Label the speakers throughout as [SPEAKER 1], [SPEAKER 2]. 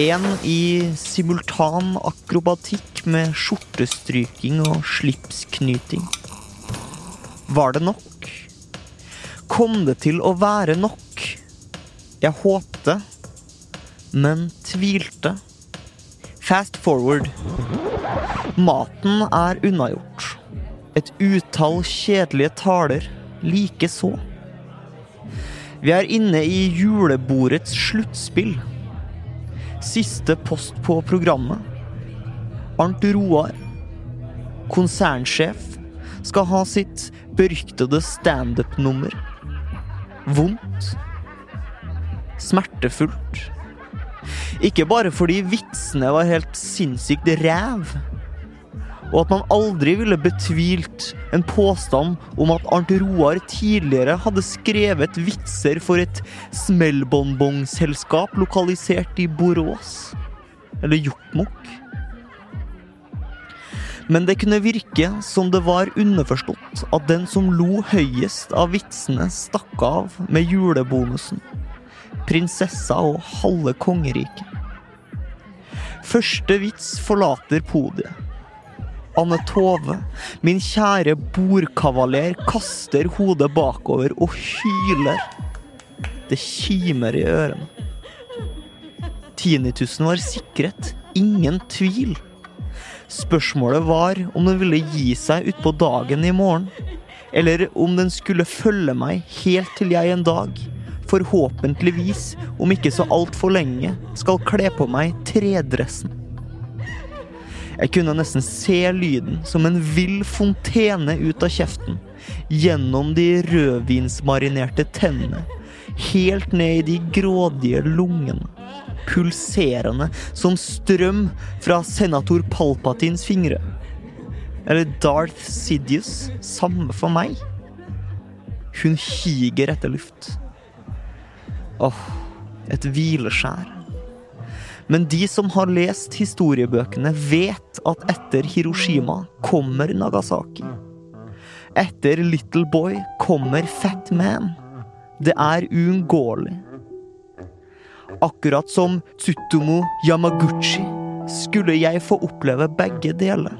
[SPEAKER 1] Én i simultan akrobatikk med skjortestryking og slipsknyting. Var det nok? Kom det til å være nok? Jeg håpte, men tvilte. Fast forward. Maten er unnagjort. Et utall kjedelige taler likeså. Vi er inne i julebordets sluttspill. Siste post på programmet. Arnt Roar, konsernsjef, skal ha sitt beryktede standup-nummer. Vondt. Smertefullt. Ikke bare fordi vitsene var helt sinnssykt ræv, og at man aldri ville betvilt en påstand om at Arnt Roar tidligere hadde skrevet vitser for et smellbonbongselskap lokalisert i Borås. Eller Jokkmokk. Men det kunne virke som det var underforstått at den som lo høyest av vitsene, stakk av med julebonusen. Prinsessa og halve kongeriket. Første vits forlater podiet. Anne Tove, min kjære bordkavaler, kaster hodet bakover og hyler. Det kimer i ørene. Tinnitusen var sikret. Ingen tvil. Spørsmålet var om den ville gi seg utpå dagen i morgen. Eller om den skulle følge meg helt til jeg en dag, forhåpentligvis om ikke så altfor lenge, skal kle på meg tredressen. Jeg kunne nesten se lyden som en vill fontene ut av kjeften. Gjennom de rødvinsmarinerte tennene. Helt ned i de grådige lungene. Pulserende som strøm fra senator Palpatins fingre. Eller Darth Sidious. Samme for meg. Hun higer etter luft. Åh, et hvileskjær. Men de som har lest historiebøkene, vet at etter Hiroshima kommer Nagasaki. Etter Little Boy kommer Fat Man. Det er uunngåelig. Akkurat som Tsutomo Yamaguchi skulle jeg få oppleve begge deler.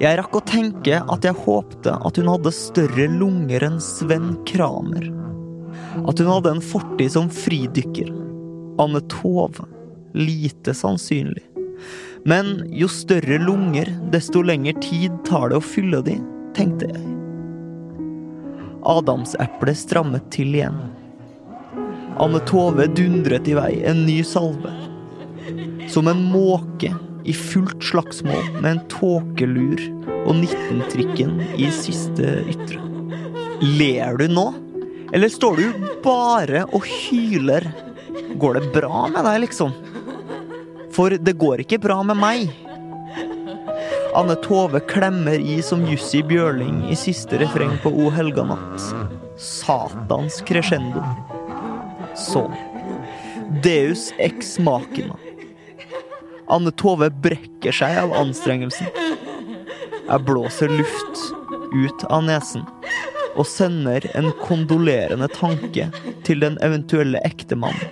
[SPEAKER 1] Jeg rakk å tenke at jeg håpte at hun hadde større lunger enn Sven Kramer. At hun hadde en fortid som fridykker. Anne Tove. Lite sannsynlig. Men jo større lunger, desto lengre tid tar det å fylle de, tenkte jeg. Adamseplet strammet til igjen. Anne Tove dundret i vei en ny salve. Som en måke i fullt slagsmål med en tåkelur og 19-trikken i siste ytre. Ler du nå? Eller står du bare og hyler? Går det bra med deg, liksom? For det går ikke bra med meg. Anne Tove klemmer i som Jussi Bjørling i siste refreng på O helga natt. Satans crescendo. Så. Deus ex machina. Anne Tove brekker seg av anstrengelsen. Jeg blåser luft ut av nesen og sender en kondolerende tanke til den eventuelle ektemannen.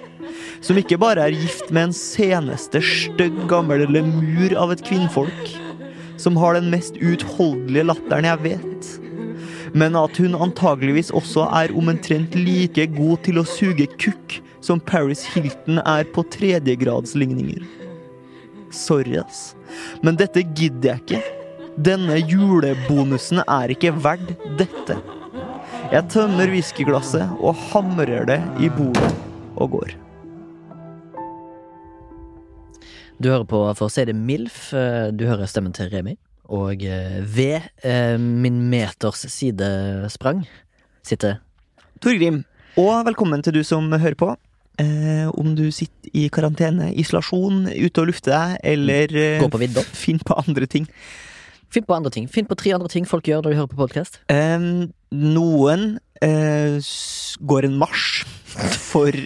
[SPEAKER 1] Som ikke bare er gift med en seneste stygg gammel lemur av et kvinnfolk. Som har den mest uutholdelige latteren jeg vet. Men at hun antageligvis også er omtrent like god til å suge kukk som Paris Hilton er på tredjegradsligninger. Sorry, ass. Men dette gidder jeg ikke. Denne julebonusen er ikke verdt dette. Jeg tømmer whiskyglasset og hamrer det i bordet og går.
[SPEAKER 2] Du hører på For å si det MILF. eh, Du hører stemmen til Remi. Og eh, ved eh, min meters sidesprang sitter
[SPEAKER 1] Torgrim, og velkommen til du som hører på. eh, om du sitter i karantene, isolasjon, ute og lufter deg, eller eh,
[SPEAKER 2] Gå på vidda.
[SPEAKER 1] finn på andre ting.
[SPEAKER 2] Finn på andre ting. Finn på tre andre ting folk gjør når de hører på podkast.
[SPEAKER 1] Eh, noen eh, s- går en marsj for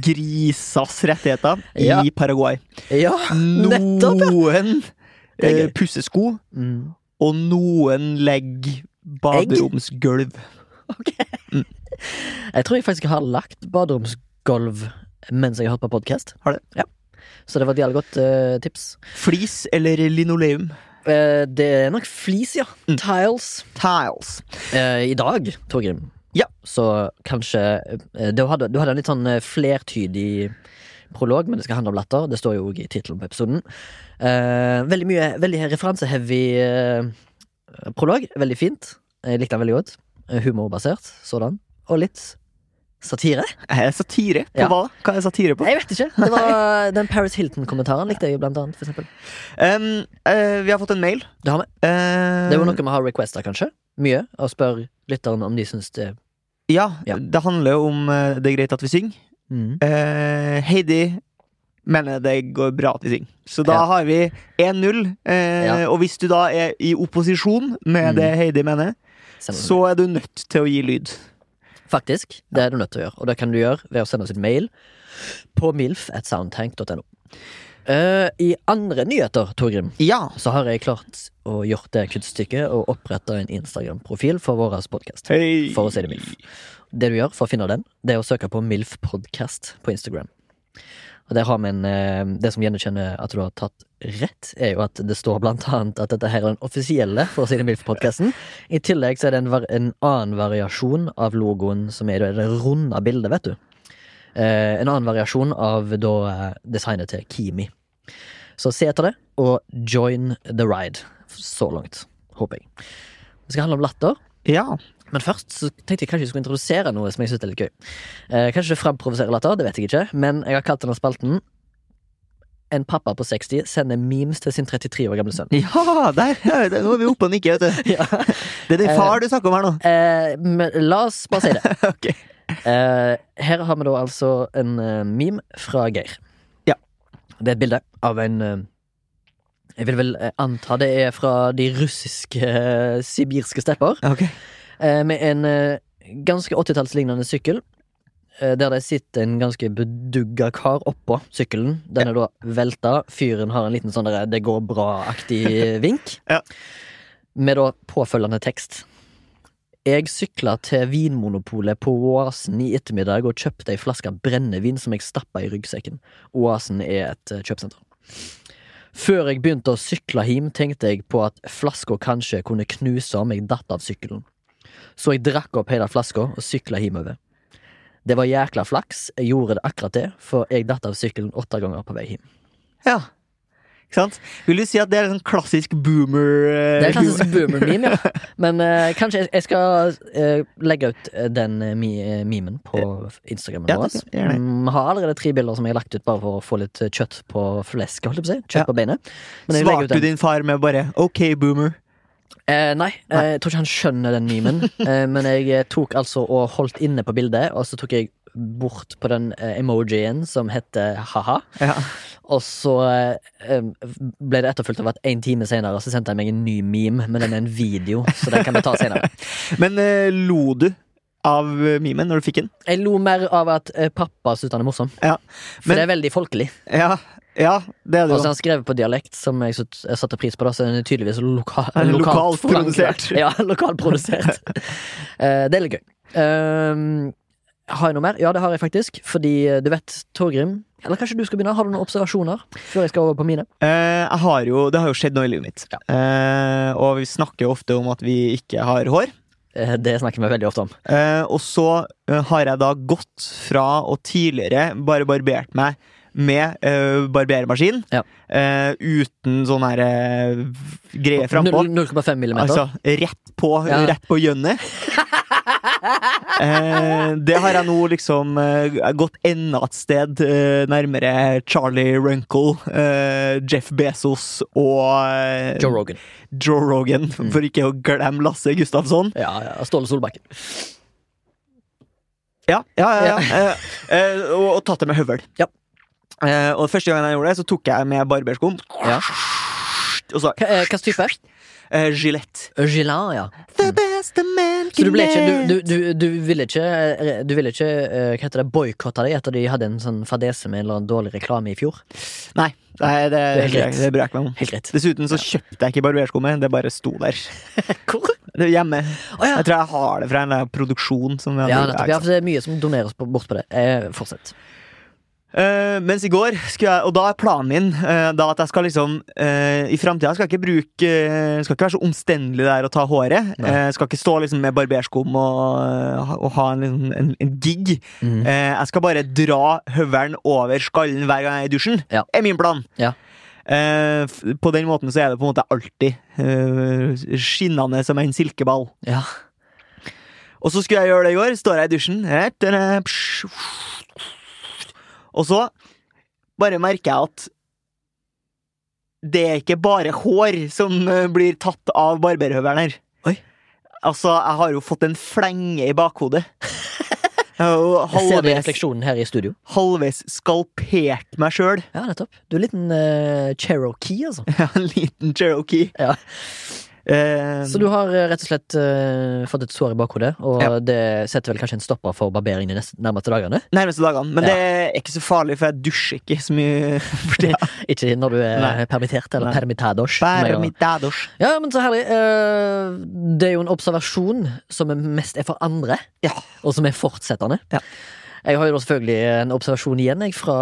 [SPEAKER 1] grisas rettigheter
[SPEAKER 2] Ja.
[SPEAKER 1] i Paraguay.
[SPEAKER 2] Ja, nettopp!
[SPEAKER 1] Noen
[SPEAKER 2] Det er
[SPEAKER 1] eh,
[SPEAKER 2] gøy.
[SPEAKER 1] pusser sko,
[SPEAKER 2] Mm.
[SPEAKER 1] og noen legger baderomsgulv.
[SPEAKER 2] Jeg tror jeg faktisk har lagt baderomsgulv mens jeg har hørt på podkast.
[SPEAKER 1] Har du?
[SPEAKER 2] Ja. Så det var et jævlig godt eh, tips.
[SPEAKER 1] Flis eller linoleum.
[SPEAKER 2] Eh, det er nok flis, ja. Tiles.
[SPEAKER 1] Tiles.
[SPEAKER 2] Eh, I dag, Torgrim,
[SPEAKER 1] Ja.
[SPEAKER 2] så kanskje eh, du, hadde, du hadde en litt sånn eh, flertydig prolog, men det skal handle om latter. Det står jo også i tittelen på episoden. Eh, veldig mye veldig referanseheavy eh, prolog. Veldig fint. Jeg likte den veldig godt. Eh, Humorbasert sådan. Og litt satire.
[SPEAKER 1] Er det Eh, satire på
[SPEAKER 2] Ja.
[SPEAKER 1] hva? Hva er satire på?
[SPEAKER 2] Jeg vet ikke. Det var Den Paris Hilton-kommentaren likte jeg jo, blant annet. For eksempel.
[SPEAKER 1] Um, eh, vi har fått en mail.
[SPEAKER 2] det har vi.
[SPEAKER 1] Eh,
[SPEAKER 2] Det er jo noe vi har requesta, kanskje. Mye. Og spør lytteren om de syns det
[SPEAKER 1] ja,
[SPEAKER 2] Ja.
[SPEAKER 1] det handler jo om eh, det er greit at vi synger.
[SPEAKER 2] mm.
[SPEAKER 1] Eh, Heidi mener det går bra at vi synger. Så da
[SPEAKER 2] Ja.
[SPEAKER 1] har vi 1-0. eh,
[SPEAKER 2] Ja.
[SPEAKER 1] Og hvis du da er i opposisjon med
[SPEAKER 2] Mm.
[SPEAKER 1] det Heidi mener,
[SPEAKER 2] sender
[SPEAKER 1] så er du nødt til å gi lyd.
[SPEAKER 2] Faktisk. Det er du nødt til å gjøre. Og det kan du gjøre ved å sende oss en mail på milf.soundtank.no. Eh, I andre nyheter, Torgrim,
[SPEAKER 1] Ja.
[SPEAKER 2] så har jeg klart å gjort det kunststykket å opprette en Instagram-profil for vår podkast.
[SPEAKER 1] Hei.
[SPEAKER 2] For å si det mildt. Det du gjør for å finne den, det er å søke på MILF Podcast på Instagram. Og der har vi en, eh, Det som gjenkjenner at du har tatt rett, er jo at det står blant annet at dette her er den offisielle, for å si det mildt, podkasten. I tillegg så er det en, var, en annen variasjon av logoen, som er det runde bildet, vet du. Eh, en annen variasjon av da eh, designet til Kimi. Så se etter det, og join the ride. Så langt, håper jeg. Det skal handle om latter.
[SPEAKER 1] Ja.
[SPEAKER 2] Men først så tenkte jeg kanskje jeg skulle introdusere noe som jeg synes er litt gøy. Eh, kanskje det framprovoserer latter, det vet jeg ikke, men jeg har kalt denne spalten En pappa på 60 sender memes til sin 33 år gamle sønn.
[SPEAKER 1] Ja, der, der, der, nå er vi oppe og nikker. vet du. Det er din far du snakker om her nå.
[SPEAKER 2] Eh, men la oss bare si det.
[SPEAKER 1] Ok.
[SPEAKER 2] Eh, her har vi da altså en eh, meme fra Geir.
[SPEAKER 1] Ja.
[SPEAKER 2] Det er et bilde av en eh, Jeg vil vel eh, anta det er fra de russiske eh, sibirske stepper.
[SPEAKER 1] Ok.
[SPEAKER 2] eh, med en eh, ganske 80-tallslignende sykkel. eh, Der det sitter en ganske bedugga kar oppå sykkelen. Den er da velta. Fyren har en liten sånn derre 'det går bra'-aktig vink.
[SPEAKER 1] Ja.
[SPEAKER 2] Med da påfølgende tekst. Jeg sykla til Vinmonopolet på Oasen i ettermiddag og kjøpte ei flaske brennevin som jeg stappa i ryggsekken. Oasen er et eh, kjøpesenter. Før jeg begynte å sykle hjem, tenkte jeg på at flaska kanskje kunne knuse om jeg datt av sykkelen. Så jeg drakk opp hele flaska og sykla hjemover. Det var jækla flaks, jeg gjorde det akkurat det, for jeg datt av sykkelen åtte ganger på vei hjem.
[SPEAKER 1] Ja. Ikke sant? Vil du si at det er en sånn klassisk boomer eh,
[SPEAKER 2] Det er en klassisk
[SPEAKER 1] humor?
[SPEAKER 2] boomer-meme, ja. Men eh, kanskje jeg, jeg skal eh, legge ut eh, den eh, mi- eh, memen på Instagrammen
[SPEAKER 1] Ja,
[SPEAKER 2] vår.
[SPEAKER 1] det kan- gjør det.
[SPEAKER 2] Mm, har allerede tre bilder som jeg har lagt ut bare for å få litt eh, kjøtt på flesket, holdt jeg på å si. Kjøtt
[SPEAKER 1] Ja.
[SPEAKER 2] på beinet. Men jeg legger ut
[SPEAKER 1] Svarte
[SPEAKER 2] den.
[SPEAKER 1] du din far med bare 'ok, boomer'?
[SPEAKER 2] Eh, nei, eh, jeg tror ikke han skjønner den memen. eh, men jeg eh, tok altså og holdt inne på bildet, og så tok jeg bort på den eh, emojien som heter ha-ha.
[SPEAKER 1] Ja.
[SPEAKER 2] Og så eh, ble det etterfulgt av at en time senere så sendte han meg en ny meme, men den er en video, så den kan vi ta senere.
[SPEAKER 1] Men eh, lo du av eh, memen når du fikk den?
[SPEAKER 2] Jeg lo mer av at eh, pappa syntes han er morsom,
[SPEAKER 1] Ja.
[SPEAKER 2] for
[SPEAKER 1] Men-
[SPEAKER 2] det er veldig folkelig.
[SPEAKER 1] Ja, ja det er
[SPEAKER 2] Og
[SPEAKER 1] det
[SPEAKER 2] så
[SPEAKER 1] jo.
[SPEAKER 2] har han skrevet på dialekt, som jeg syt- jeg satte pris på, da, så den er tydeligvis loka
[SPEAKER 1] Den er lokalt
[SPEAKER 2] forankret.
[SPEAKER 1] produsert.
[SPEAKER 2] Ja, lokalprodusert. Eh, det er litt gøy. Ehm, har jeg noe mer? Ja, det har jeg faktisk. Fordi eh, du vet, Torgrim Eller kanskje du skal begynne? Har du noen observasjoner før jeg skal over på mine?
[SPEAKER 1] Eh, jeg har jo det har jo skjedd noe i livet mitt. Eh, og vi snakker jo ofte om at vi ikke har hår.
[SPEAKER 2] Eh, det snakker vi veldig ofte om.
[SPEAKER 1] Eh, og så eh, har jeg da gått fra å tidligere bare barbert meg med eh, barbermaskin
[SPEAKER 2] Ja.
[SPEAKER 1] eh, uten sånn her eh, greie frampå.
[SPEAKER 2] 0,5 millimeter.
[SPEAKER 1] Altså rett på,
[SPEAKER 2] Ja.
[SPEAKER 1] rett på gjønnet. eh, det har jeg nå liksom eh, gått enda et sted eh, nærmere Charlie Runkle, eh, Jeff Bezos og eh,
[SPEAKER 2] Joe Rogan.
[SPEAKER 1] Joe Rogan,
[SPEAKER 2] Mm.
[SPEAKER 1] for ikke å glemme Lasse Gustafsson.
[SPEAKER 2] Ja, ja, Ståle Solbakken.
[SPEAKER 1] Ja, ja, ja, ja. Eh, eh, og, og tatt det med høvel.
[SPEAKER 2] Ja.
[SPEAKER 1] Eh, og første gangen jeg gjorde det, så tok jeg med barberskum.
[SPEAKER 2] Ja.
[SPEAKER 1] Og så
[SPEAKER 2] Hva eh, hva slags type?
[SPEAKER 1] eh, Gillette.
[SPEAKER 2] Gillan, ja.
[SPEAKER 1] The best a man
[SPEAKER 2] Mm. Så du
[SPEAKER 1] can
[SPEAKER 2] ble ikke Du,
[SPEAKER 1] get.
[SPEAKER 2] du, du, du ville ikke, eh, du ville ikke eh, hva heter det, boikotta dem etter de hadde en sånn fadese med en eller annen dårlig reklame i fjor?
[SPEAKER 1] Nei, nei, det,
[SPEAKER 2] er helt greit.
[SPEAKER 1] det bryr jeg ikke meg om.
[SPEAKER 2] Helt greit.
[SPEAKER 1] Dessuten så kjøpte jeg ikke barberskummet, det bare sto der.
[SPEAKER 2] Hvor?
[SPEAKER 1] Det er hjemme.
[SPEAKER 2] Å ja.
[SPEAKER 1] Jeg tror jeg har det fra en eller annen produksjon. Som jeg
[SPEAKER 2] Ja,
[SPEAKER 1] hadde-
[SPEAKER 2] nettopp. Ja, for det er mye som doneres på, bort på det. Eh, fortsett.
[SPEAKER 1] Eh, mens i går skulle jeg, og da er planen min eh, da at jeg skal liksom eh, I framtida skal jeg ikke bruke eh, Skal ikke være så omstendelig der å ta håret.
[SPEAKER 2] Nei.
[SPEAKER 1] Eh, skal ikke stå liksom med barberskum og, eh, ha- og ha en, liksom, en, en gig.
[SPEAKER 2] Mm.
[SPEAKER 1] Eh, jeg skal bare dra høvelen over skallen hver gang jeg er i dusjen.
[SPEAKER 2] Ja.
[SPEAKER 1] er min plan.
[SPEAKER 2] Ja.
[SPEAKER 1] Eh, f- på den måten så er det på en måte alltid eh, skinnende som en silkeball.
[SPEAKER 2] Ja.
[SPEAKER 1] Og så skulle jeg gjøre det i går. Står jeg i dusjen. her, tada, psh, Og så bare merker jeg at det er ikke bare hår som eh, blir tatt av barberhøvelen her.
[SPEAKER 2] Oi.
[SPEAKER 1] Altså, jeg har jo fått en flenge i bakhodet. Jeg har jo
[SPEAKER 2] Jeg ser det i
[SPEAKER 1] halvveis,
[SPEAKER 2] refleksjonen her i studio.
[SPEAKER 1] halvveis skalpert meg sjøl.
[SPEAKER 2] Ja, nettopp. Du er en liten eh, cherokee, altså.
[SPEAKER 1] En liten cherokee.
[SPEAKER 2] Ja.
[SPEAKER 1] Eh,
[SPEAKER 2] Så du har eh, rett og slett eh, fått et sår i bakhodet, og
[SPEAKER 1] Ja.
[SPEAKER 2] det setter vel kanskje en stopper for barbering de neste, nærmeste dagene?
[SPEAKER 1] Nærmeste dagene. Men
[SPEAKER 2] Ja.
[SPEAKER 1] det er ikke så farlig, for jeg dusjer ikke så mye. for tida.
[SPEAKER 2] Ikke når du er
[SPEAKER 1] Nei.
[SPEAKER 2] permittert, eller
[SPEAKER 1] Nei.
[SPEAKER 2] permitados. som jeg
[SPEAKER 1] Bare
[SPEAKER 2] har-
[SPEAKER 1] mitt dados.
[SPEAKER 2] Ja, men så herlig. Eh, Det er jo en observasjon som er mest er for andre,
[SPEAKER 1] Ja.
[SPEAKER 2] og som er fortsettende.
[SPEAKER 1] Ja.
[SPEAKER 2] Jeg har jo da selvfølgelig en observasjon igjen jeg, fra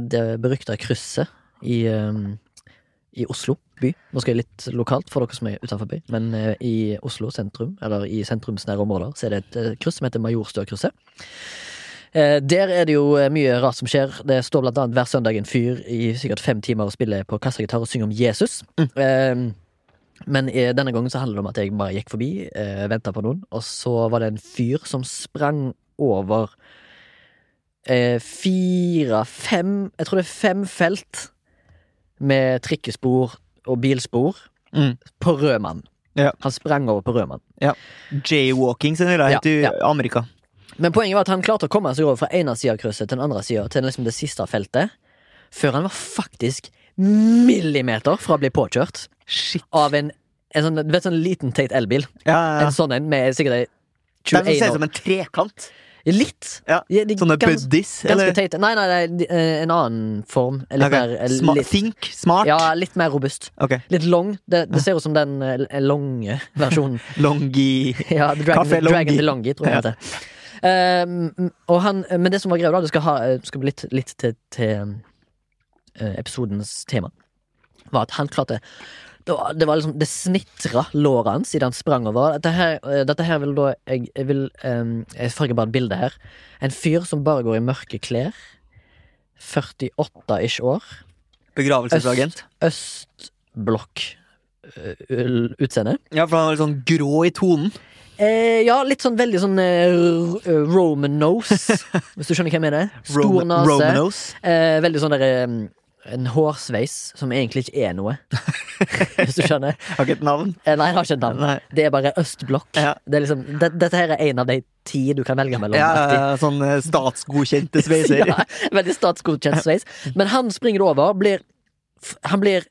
[SPEAKER 2] det berykta krysset i, eh, i Oslo by. Nå skal jeg litt lokalt for dere som er utenfor by, men eh, i Oslo sentrum, eller i sentrumsnære områder, så er det et eh, kryss som heter Majorstøkrysset. Eh, Der er det jo eh, mye rart som skjer. Det står blant annet hver søndag en fyr i sikkert fem timer og spiller på kassagitar og synger om Jesus. Eh, men eh, denne gangen så handler det om at jeg bare gikk forbi, eh, venta på noen, og så var det en fyr som sprang over eh, fire, fem Jeg tror det er fem felt med trikkespor og bilspor
[SPEAKER 1] Mm.
[SPEAKER 2] på rød mann.
[SPEAKER 1] Ja.
[SPEAKER 2] Han sprang over på rød mann.
[SPEAKER 1] Jaywalking, som det heter i
[SPEAKER 2] Ja,
[SPEAKER 1] Amerika.
[SPEAKER 2] Men poenget var at han klarte å komme seg over fra ene sida av krysset til den andre sida, til liksom det siste feltet, før han var faktisk millimeter fra å bli påkjørt
[SPEAKER 1] Shit.
[SPEAKER 2] av en, en sånn, du vet, sånn liten, teit elbil.
[SPEAKER 1] Ja, ja.
[SPEAKER 2] En sånn en med sikkert ei
[SPEAKER 1] Den som
[SPEAKER 2] 21 år
[SPEAKER 1] ser ut som en trekant.
[SPEAKER 2] Litt.
[SPEAKER 1] Ja,
[SPEAKER 2] Ja, de
[SPEAKER 1] Sånne
[SPEAKER 2] gans-
[SPEAKER 1] buddies.
[SPEAKER 2] Ganske
[SPEAKER 1] Eller
[SPEAKER 2] teite. Nei, nei, nei, de- eh, en annen form. Eh, Litt
[SPEAKER 1] Ok.
[SPEAKER 2] mer eh,
[SPEAKER 1] Sma-
[SPEAKER 2] litt,
[SPEAKER 1] Think. Smart.
[SPEAKER 2] Ja, litt mer robust.
[SPEAKER 1] Ok.
[SPEAKER 2] Litt long. Det, det ser ut som den eh, lange versjonen.
[SPEAKER 1] Longi.
[SPEAKER 2] Ja, The Dragon,
[SPEAKER 1] Café
[SPEAKER 2] Dragon
[SPEAKER 1] Longi.
[SPEAKER 2] de Longi, tror jeg
[SPEAKER 1] Ja.
[SPEAKER 2] det heter. Ehm, og han, men det som var greia da, det skal, ha, eh, skal bli litt, litt til, til um, eh, episodens tema, var at han klarte det var, det var liksom Det snitra låret hans idet han sprang over. Dette her, eh, dette her vil da Jeg, jeg vil ehm, Jeg farger bare et bilde her. En fyr som bare går i mørke klær. 48-ish år.
[SPEAKER 1] Begravelsesagent.
[SPEAKER 2] Østblokk eh, utseende.
[SPEAKER 1] Ja, for han var litt sånn grå i tonen.
[SPEAKER 2] Eh, ja, litt sånn veldig sånn eh, r- eh, Roman nose, hvis du skjønner hva jeg mener. Stor
[SPEAKER 1] Roman-
[SPEAKER 2] nase.
[SPEAKER 1] Romanos.
[SPEAKER 2] Eh, veldig sånn der eh, En hårsveis som egentlig ikke er noe, hvis du skjønner.
[SPEAKER 1] Har ikke et navn.
[SPEAKER 2] Eh, nei, jeg har ikke et navn.
[SPEAKER 1] Nei.
[SPEAKER 2] Det er bare østblokk.
[SPEAKER 1] Ja.
[SPEAKER 2] Det er liksom, det, dette her er en av de ti du kan velge mellom.
[SPEAKER 1] Ja,
[SPEAKER 2] aktig.
[SPEAKER 1] ja, sånn eh, statsgodkjente sveiser.
[SPEAKER 2] Ja, veldig statsgodkjent sveis. Men han springer det over, blir f- Han blir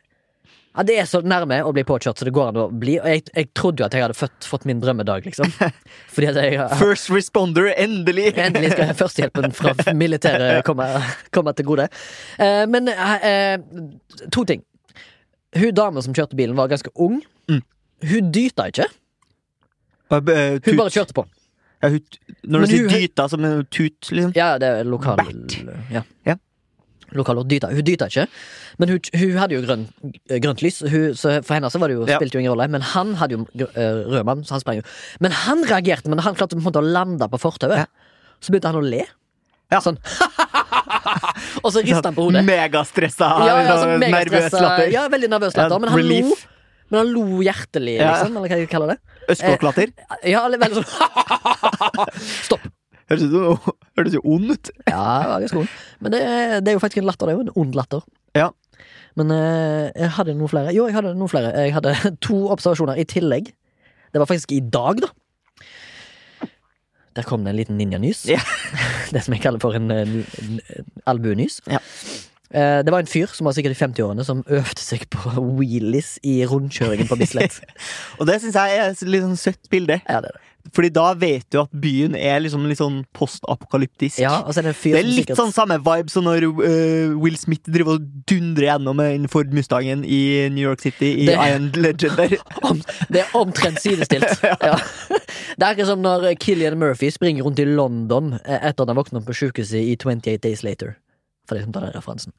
[SPEAKER 2] ja, Det er så nærme å bli påkjørt, så det går an å bli. Og jeg, jeg trodde jo at jeg hadde født, fått min drømmedag, liksom. Fordi at jeg har
[SPEAKER 1] First responder, endelig!
[SPEAKER 2] Endelig skal førstehjelpen fra militæret komme, komme til gode. Eh, men eh, eh, to ting. Hun dama som kjørte bilen, var ganske ung.
[SPEAKER 1] Mm.
[SPEAKER 2] Hun dyta ikke.
[SPEAKER 1] Eh, eh,
[SPEAKER 2] Hun
[SPEAKER 1] tut.
[SPEAKER 2] bare kjørte på.
[SPEAKER 1] Ja, hun- Når
[SPEAKER 2] Men
[SPEAKER 1] du sier
[SPEAKER 2] hun-
[SPEAKER 1] dyta, som en tut, liksom.
[SPEAKER 2] Ja, det er lokal
[SPEAKER 1] Bert.
[SPEAKER 2] Ja.
[SPEAKER 1] Ja.
[SPEAKER 2] Lokal og dyta. Hun dyta ikke, men hun, hun hadde jo grønn, grønt lys. Hun, så for henne så var det jo,
[SPEAKER 1] Ja.
[SPEAKER 2] spilte jo ingen rolle. Men han hadde jo gr- eh, rød mann, så han sprang jo. Men han reagerte, men han klarte på en måte å lande på fortauet.
[SPEAKER 1] Ja.
[SPEAKER 2] Så begynte han å le.
[SPEAKER 1] Ja.
[SPEAKER 2] Sånn. og så rista han på hodet.
[SPEAKER 1] Megastressa,
[SPEAKER 2] Ja, ja,
[SPEAKER 1] sånn
[SPEAKER 2] sånn
[SPEAKER 1] nervøs
[SPEAKER 2] megastressa-
[SPEAKER 1] latter.
[SPEAKER 2] Ja, veldig nervøs latter.
[SPEAKER 1] Ja,
[SPEAKER 2] Men han lo.
[SPEAKER 1] relief.
[SPEAKER 2] Men han lo hjertelig,
[SPEAKER 1] Ja.
[SPEAKER 2] liksom. Eller hva de kaller det.
[SPEAKER 1] Østblokklatter.
[SPEAKER 2] Ja, eller veldig sånn Stopp.
[SPEAKER 1] Høres ut som- høres jo ond ut.
[SPEAKER 2] Ja, det var ganske ond. Men det, er- det er jo faktisk en latter, det er jo en ond latter.
[SPEAKER 1] Ja.
[SPEAKER 2] Men eh, jeg hadde noen flere. Jo, jeg hadde noen flere. Jeg hadde to observasjoner i tillegg. Det var faktisk i dag, da. Der kom det en liten ninjanys.
[SPEAKER 1] Ja.
[SPEAKER 2] det som jeg kaller for en, en, en albuenys.
[SPEAKER 1] Ja.
[SPEAKER 2] Eh, Det var en fyr som var sikkert i 50-årene som øvde seg på wheelies i rundkjøringen på Bislett.
[SPEAKER 1] Og det syns jeg er et litt sånn søtt bilde.
[SPEAKER 2] ja, det er det.
[SPEAKER 1] Fordi da vet du at byen er liksom litt sånn postapokalyptisk.
[SPEAKER 2] Ja, og så er det en fyr
[SPEAKER 1] Det er
[SPEAKER 2] som
[SPEAKER 1] litt
[SPEAKER 2] sikkert
[SPEAKER 1] sånn samme vibe som når øh, Will Smith driver og dundrer gjennom en Ford Mustangen i New York City i
[SPEAKER 2] Det-
[SPEAKER 1] Iron Legend der.
[SPEAKER 2] om, Det er omtrent sidestilt. ja. Det er ikke som når Killian Murphy springer rundt i London eh, etter at han våkner opp på sykehuset i 28 Days Later. For de som tar den referansen.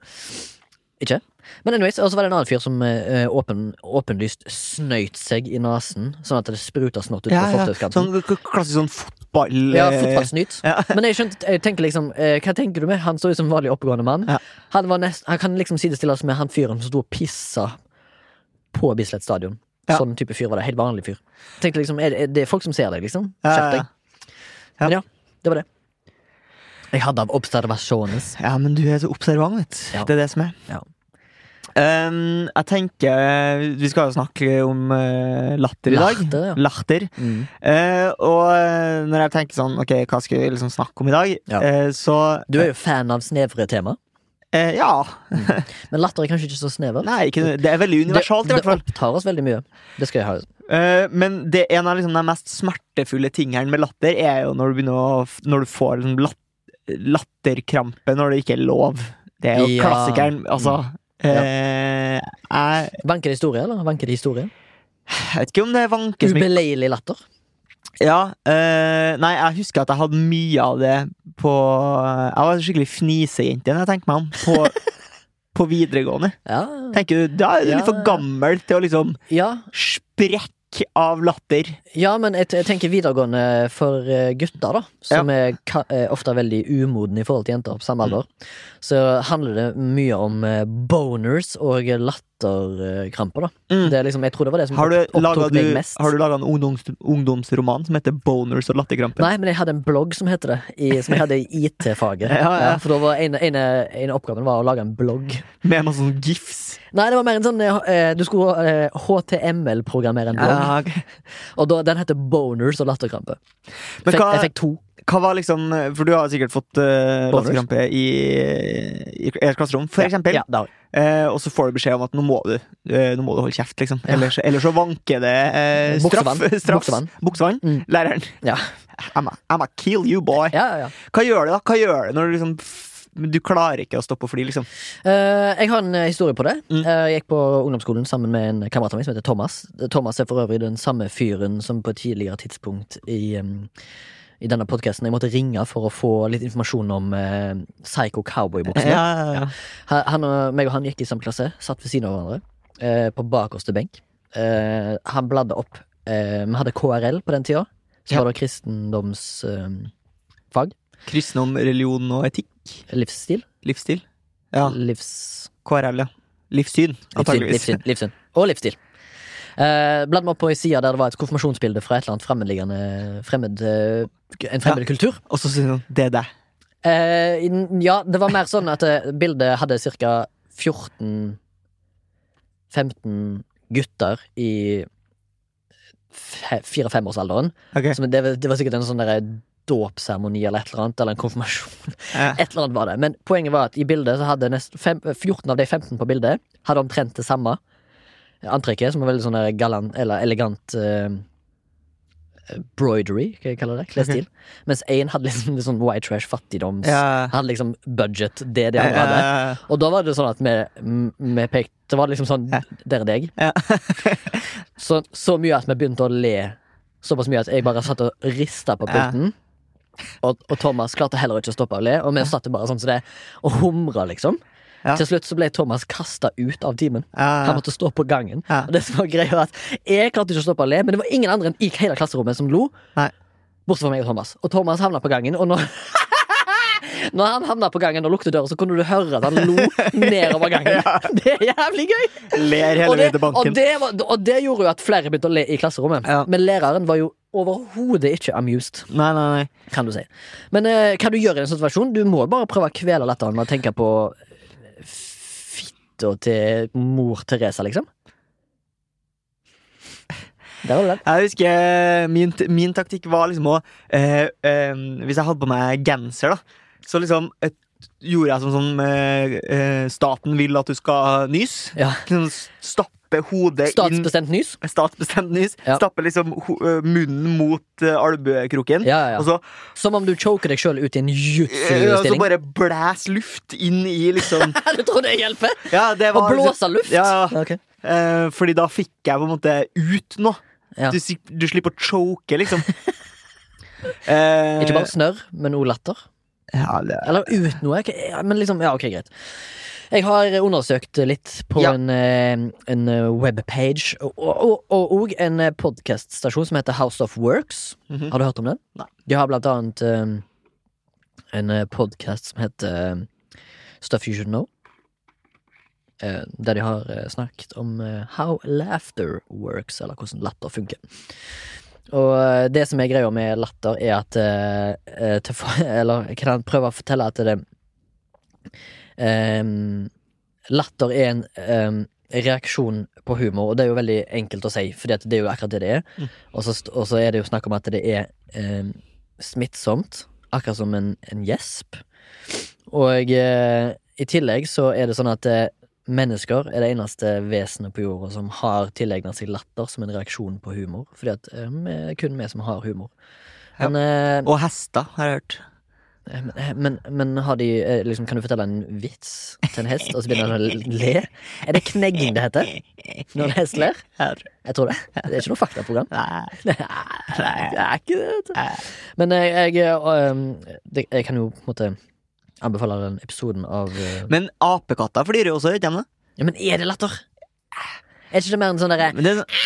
[SPEAKER 2] Ikke? Men anyways, og så var det en annen fyr som eh, åpen, åpenlyst snøyt seg i nesen, sånn at det spruta snott ut
[SPEAKER 1] Ja,
[SPEAKER 2] på
[SPEAKER 1] ja.
[SPEAKER 2] fortauskanten.
[SPEAKER 1] Sånn k- klassisk sånn fotball...
[SPEAKER 2] Ja,
[SPEAKER 1] eh,
[SPEAKER 2] fotballsnyt.
[SPEAKER 1] Ja.
[SPEAKER 2] Men jeg, skjønte, jeg tenker liksom eh, Hva tenker du med? Han står jo som vanlig oppegående mann.
[SPEAKER 1] Ja.
[SPEAKER 2] Han, var nest, han kan liksom sidestilles med han fyren som sto og pissa på Bislett stadion.
[SPEAKER 1] Ja.
[SPEAKER 2] Sånn type fyr var det. Helt vanlig fyr. Tenkte liksom, er, det- er Det er folk som ser deg, liksom.
[SPEAKER 1] Ja, ja,
[SPEAKER 2] Skjerp
[SPEAKER 1] ja.
[SPEAKER 2] deg. Men ja, det var det. Jeg hadde av observasjones.
[SPEAKER 1] Ja, men du er så observant, vet du.
[SPEAKER 2] Ja.
[SPEAKER 1] Det er det som er.
[SPEAKER 2] Ja.
[SPEAKER 1] Um, jeg tenker Vi skal jo snakke om eh, latter i dag.
[SPEAKER 2] Latter, ja.
[SPEAKER 1] Latter.
[SPEAKER 2] Mm.
[SPEAKER 1] Eh, og eh, når jeg tenker sånn Ok, hva skal vi liksom snakke om i dag?
[SPEAKER 2] Ja.
[SPEAKER 1] Eh, så
[SPEAKER 2] Du er jo fan av snevre tema,
[SPEAKER 1] eh, Ja.
[SPEAKER 2] men latter er kanskje ikke så snever.
[SPEAKER 1] Nei, ikke, det er veldig universalt, i
[SPEAKER 2] det,
[SPEAKER 1] hvert fall.
[SPEAKER 2] det opptar oss veldig mye. Det skal jeg ha.
[SPEAKER 1] Eh, men det, en av liksom, de mest smertefulle tingene med latter er jo når du, begynner å, f- når du får liksom, lat, latterkrampe når det ikke er lov. Det er jo
[SPEAKER 2] Ja. Mm.
[SPEAKER 1] klassikeren. Altså eh, jeg,
[SPEAKER 2] Vanker det historie, eller? Vanker det historie?
[SPEAKER 1] jeg vet ikke om det er vanke som ikke
[SPEAKER 2] Ubeleilig latter.
[SPEAKER 1] ja, eh, Nei, jeg husker at jeg hadde mye av det på eh, Jeg var skikkelig fnisejente når jeg tenker meg om. På, på videregående.
[SPEAKER 2] Ja.
[SPEAKER 1] Tenker du, Da er du
[SPEAKER 2] Ja,
[SPEAKER 1] litt for
[SPEAKER 2] ja.
[SPEAKER 1] gammel til å liksom
[SPEAKER 2] ja,
[SPEAKER 1] sprekke av latter.
[SPEAKER 2] Ja, men jeg, jeg tenker videregående for eh, gutter, da. Som er ka eh, ofte er veldig umodne i forhold til jenter på samme alder.
[SPEAKER 1] Mm.
[SPEAKER 2] Så handler det mye om eh, boners og latterkramper, da.
[SPEAKER 1] Mm.
[SPEAKER 2] Det er liksom, jeg tror det var det som
[SPEAKER 1] Har du,
[SPEAKER 2] opp-
[SPEAKER 1] laget,
[SPEAKER 2] opptok meg
[SPEAKER 1] du,
[SPEAKER 2] mest.
[SPEAKER 1] har du laget en ungdoms, ungdomsroman som heter 'Boners og latterkrampe'?
[SPEAKER 2] Nei, men jeg hadde en blogg som heter det, i, som jeg hadde i IT-faget.
[SPEAKER 1] Ja, ja.
[SPEAKER 2] for da var en, en, en oppgaven var å lage en blogg.
[SPEAKER 1] Med masse sånn gifs?
[SPEAKER 2] Nei, det var mer en sånn eh, Du skulle eh, HTML-programmere en blogg.
[SPEAKER 1] Ja, ok.
[SPEAKER 2] Og da, den heter Boners og latterkrampe.
[SPEAKER 1] Men
[SPEAKER 2] Fikk,
[SPEAKER 1] hva-
[SPEAKER 2] jeg fikk to.
[SPEAKER 1] Hva var liksom For du har sikkert fått uh,
[SPEAKER 2] Boners.
[SPEAKER 1] latterkrampe i, i et klasserom, for eksempel.
[SPEAKER 2] Ja, det har jeg.
[SPEAKER 1] Eh, og så får du beskjed om at nå må du, eh, nå må du holde kjeft, liksom.
[SPEAKER 2] Ja.
[SPEAKER 1] Ellers, ellers så vanker det eh, straff.
[SPEAKER 2] Buksevann.
[SPEAKER 1] straff.
[SPEAKER 2] Buksevann.
[SPEAKER 1] Buksevann.
[SPEAKER 2] Mm.
[SPEAKER 1] Læreren.
[SPEAKER 2] Ja.
[SPEAKER 1] I'm a, I'm a kill you, boy.
[SPEAKER 2] ja, ja, ja.
[SPEAKER 1] Hva gjør det da? Hva gjør det når du liksom f- Du klarer ikke å stoppe å fly, liksom?
[SPEAKER 2] Eh, jeg har en eh, historie på det.
[SPEAKER 1] Mm.
[SPEAKER 2] Eh, jeg gikk på ungdomsskolen sammen med en kamerat av meg som heter Thomas. Thomas er for øvrig den samme fyren som på et tidligere tidspunkt i, em, i denne podkasten jeg måtte ringe for å få litt informasjon om eh, Psycho Cowboy-buksene.
[SPEAKER 1] ja.
[SPEAKER 2] Han- han og- Meg og han gikk i samme klasse, satt ved siden av hverandre eh, på bakerste benk. Eh, han bladde opp. Eh, Vi hadde KRL på den tida, som
[SPEAKER 1] Ja.
[SPEAKER 2] var eh, da kristendomsfag.
[SPEAKER 1] Kristendom, religion og etikk?
[SPEAKER 2] livsstil.
[SPEAKER 1] Livsstil? Ja.
[SPEAKER 2] Livs...
[SPEAKER 1] KRL, ja. Livssyn,
[SPEAKER 2] Livssyn,
[SPEAKER 1] antageligvis.
[SPEAKER 2] livssyn, livssyn. Og livsstil. Eh, Bland meg opp på ei side der det var et konfirmasjonsbilde fra et eller annet fremmedliggende fremmed, eh, En fremmed kultur.
[SPEAKER 1] Og så sier hun det er deg.
[SPEAKER 2] Eh, i den- ja, det var mer sånn at eh, bildet hadde ca. 14-15 gutter i fire-femårsalderen.
[SPEAKER 1] Ok.
[SPEAKER 2] Som Det, var- det var sikkert en sånn der dåpsseremoni eller et eller annet. Eller en konfirmasjon.
[SPEAKER 1] Eh,
[SPEAKER 2] Et eller annet var det. Men poenget var at i bildet så hadde nest, fem, 14 av de 15 på bildet hadde omtrent det samme antrekket, som var veldig sånn der galant, eller elegant eh, broidery, hva jeg kaller det, klesstil. Mens én hadde liksom litt sånn white trash fattigdoms...
[SPEAKER 1] Ja.
[SPEAKER 2] Hadde liksom budget, det de
[SPEAKER 1] eh,
[SPEAKER 2] andre hadde.
[SPEAKER 1] eh,
[SPEAKER 2] Og da var det sånn at vi, m- vi pekte Så var det liksom sånn
[SPEAKER 1] Ja.
[SPEAKER 2] Der er deg.
[SPEAKER 1] Ja.
[SPEAKER 2] så, så mye at vi begynte å le. Såpass mye at jeg bare satt og rista på
[SPEAKER 1] Ja.
[SPEAKER 2] pulten. Og, og Thomas klarte heller ikke å stoppe å le, og vi satt bare sånn som det og humra, liksom.
[SPEAKER 1] Ja.
[SPEAKER 2] Til slutt så ble Thomas kasta ut av timen.
[SPEAKER 1] eh,
[SPEAKER 2] Han måtte stå på gangen.
[SPEAKER 1] Ja.
[SPEAKER 2] Og det som var greia var at Jeg klarte ikke å stoppe å le, men det var ingen andre enn i hele klasserommet som lo.
[SPEAKER 1] Nei.
[SPEAKER 2] Bortsett fra meg og Thomas. Og Thomas havna på gangen, og når, når han havna på gangen og lukket døra, så kunne du høre at han lo nedover gangen. Det er jævlig gøy!
[SPEAKER 1] Ler hele
[SPEAKER 2] Og det,
[SPEAKER 1] veien til
[SPEAKER 2] og,
[SPEAKER 1] banken.
[SPEAKER 2] det var, og det gjorde jo at flere begynte å le i klasserommet.
[SPEAKER 1] Ja.
[SPEAKER 2] Men læreren var jo overhodet ikke amused,
[SPEAKER 1] Nei, nei, nei.
[SPEAKER 2] kan du si. Men eh, hva du gjør i en sånn situasjon? Du må bare prøve å kvele latteren med å tenke på eh, fitta til mor Teresa, liksom. Der har du den.
[SPEAKER 1] Jeg husker eh, min, t- min taktikk var liksom å eh, eh, Hvis jeg hadde på meg genser, da, så liksom eh, gjorde jeg sånn som eh, eh, staten vil at du skal nyse.
[SPEAKER 2] Ja.
[SPEAKER 1] Liksom stappe hodet inn
[SPEAKER 2] Statsbestemt nys.
[SPEAKER 1] Statsbestemt nys.
[SPEAKER 2] Ja.
[SPEAKER 1] Stappe liksom ho eh, munnen mot eh, albuekroken.
[SPEAKER 2] Ja, ja,
[SPEAKER 1] Og
[SPEAKER 2] ja.
[SPEAKER 1] så,
[SPEAKER 2] Som om du choker deg sjøl ut i en
[SPEAKER 1] eh, og så
[SPEAKER 2] jutsu-stilling.
[SPEAKER 1] bare blæs luft inn i liksom
[SPEAKER 2] Du tror det hjelper?
[SPEAKER 1] ja, det
[SPEAKER 2] Å
[SPEAKER 1] var, liksom-
[SPEAKER 2] blåse luft?
[SPEAKER 1] Ja, ja.
[SPEAKER 2] Ok.
[SPEAKER 1] eh, fordi da fikk jeg på en måte ut noe.
[SPEAKER 2] Ja.
[SPEAKER 1] Du, si- du slipper å choke, liksom. eh,
[SPEAKER 2] Ikke bare snørr, men òg latter.
[SPEAKER 1] Ja, det
[SPEAKER 2] Eller
[SPEAKER 1] Eh.
[SPEAKER 2] ut noe. ok, ja, Men liksom, ja, ok, greit. Jeg har undersøkt litt på
[SPEAKER 1] Ja.
[SPEAKER 2] en, eh, en eh, webpage, og- og og- og en eh, podcaststasjon som heter House of Works.
[SPEAKER 1] Mhm.
[SPEAKER 2] Har du hørt om den?
[SPEAKER 1] Nei.
[SPEAKER 2] De har blant annet eh, en eh, podcast som heter eh, Stuff You Should Know. eh, Der de har eh, snakket om eh, how laughter works, eller hvordan latter funker. Og eh, det som er greia med latter, er at eh, eh, til, for- Eller kan han prøve å fortelle at det ehm, Latter er en ehm, reaksjon på humor, og det er jo veldig enkelt å si, for det er jo akkurat det det er.
[SPEAKER 1] Mm.
[SPEAKER 2] Og så st- og så er det jo snakk om at det er ehm, smittsomt, akkurat som en, en gjesp. Og eh, i tillegg så er det sånn at eh, mennesker er det eneste vesenet på jorda som har tilegna seg latter som en reaksjon på humor, fordi at eh, vi er kun vi som har humor.
[SPEAKER 1] Ja.
[SPEAKER 2] Men, eh,
[SPEAKER 1] Og hester, har jeg hørt.
[SPEAKER 2] men, eh, men, men har de eh, liksom, Kan du fortelle en vits til en hest, og så begynner han å le? Er det knegging det heter? Når en hest ler?
[SPEAKER 1] Her.
[SPEAKER 2] Jeg tror det. Det er ikke noe faktaprogram.
[SPEAKER 1] Nei.
[SPEAKER 2] Nei, det er ikke det. vet du. Men eh, jeg, eh, um, det- jeg kan jo på en måte anbefale den episoden av eh,
[SPEAKER 1] Men apekatter flirer jo også, gjør ikke de det?
[SPEAKER 2] Ja, men er det latter? Er ikke det mer en sånn derre
[SPEAKER 1] Men det er sånn-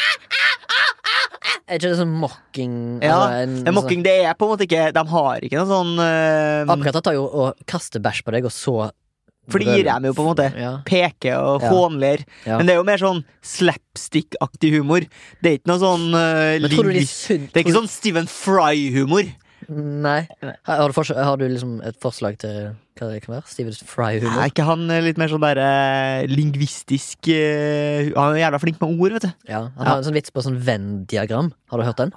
[SPEAKER 2] Er ikke det sånn mocking?
[SPEAKER 1] Ja,
[SPEAKER 2] altså en,
[SPEAKER 1] en mocking, det er på en måte ikke De har ikke noe sånn
[SPEAKER 2] sånn-
[SPEAKER 1] eh,
[SPEAKER 2] Apekatter tar jo og kaster bæsj på deg, og så
[SPEAKER 1] Flirer de jo, på en måte.
[SPEAKER 2] Ja.
[SPEAKER 1] Peke og
[SPEAKER 2] Ja.
[SPEAKER 1] hånler.
[SPEAKER 2] Ja.
[SPEAKER 1] Men det er jo mer sånn slapstick-aktig humor. Det er ikke noe sånn eh,
[SPEAKER 2] Men tror du de
[SPEAKER 1] Ling-
[SPEAKER 2] syns
[SPEAKER 1] Det er ikke sånn Stephen Fry-humor.
[SPEAKER 2] Nei.
[SPEAKER 1] Nei.
[SPEAKER 2] Har, har, du forslag, har du liksom et forslag til hva det kan være? Steven
[SPEAKER 1] Er
[SPEAKER 2] Fry-humor?
[SPEAKER 1] ikke han eh, litt mer sånn derre lingvistisk eh, hu- Han er jævla flink med ord, vet du.
[SPEAKER 2] Ja, han
[SPEAKER 1] Ja.
[SPEAKER 2] har en sånn vits på sånn Venn-diagram. Har du hørt den?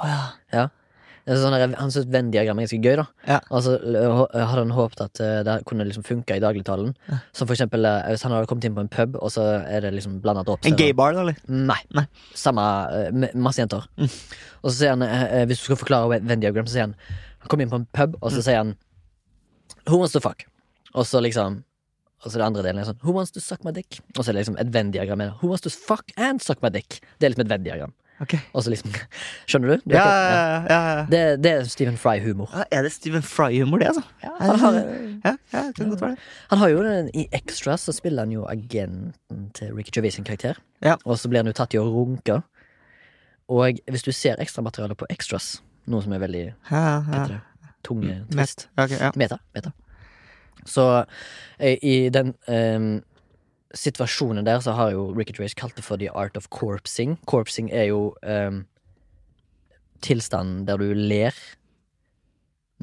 [SPEAKER 2] Det er sånn der, han synes Venn-diagram er ganske gøy, da.
[SPEAKER 1] Ja.
[SPEAKER 2] Og så eh, hå- hadde han håpet at eh, det kunne liksom funke i dagligtalen. Som for eksempel eh, hvis han hadde kommet inn på en pub, og så er det liksom blandet opp.
[SPEAKER 1] En gaybar, da, eller?
[SPEAKER 2] Nei.
[SPEAKER 1] Nei.
[SPEAKER 2] Samme eh, m- Masse jenter. Og så sier han, eh, eh, hvis du skal forklare Venn-diagram, så sier han Han kom inn på en pub, og så sier han Who wants to fuck? Og så liksom Og så det andre delen er sånn Who wants to suck my dick? Og så er det liksom et Venn-diagram med det. Who wants to fuck and suck my dick? Det er liksom et Venn-diagram.
[SPEAKER 1] Ok.
[SPEAKER 2] Og så liksom Skjønner du? du vet
[SPEAKER 1] Ja,
[SPEAKER 2] det?
[SPEAKER 1] ja, ja, ja.
[SPEAKER 2] Det, det er Stephen Fry-humor.
[SPEAKER 1] Ja, Er det Stephen Fry-humor, det, altså?
[SPEAKER 2] Han har,
[SPEAKER 1] Ja, ja, det kan godt være det.
[SPEAKER 2] han har jo den- I Extras så spiller han jo agenten til Ricky Gervais sin karakter.
[SPEAKER 1] Ja.
[SPEAKER 2] Og så blir han jo tatt i å runke. Og hvis du ser ekstramaterialet på Extras, noe som er veldig
[SPEAKER 1] Ja,
[SPEAKER 2] hva
[SPEAKER 1] ja,
[SPEAKER 2] heter
[SPEAKER 1] ja. Mm.
[SPEAKER 2] det? tunge twist.
[SPEAKER 1] Mest. Ja, ok, ja.
[SPEAKER 2] Meta. Meta. Så eh, i den eh, situasjonen der så har jo Ricky Drace kalt det for the art of corpsing. Corpsing er jo eh, tilstanden der du ler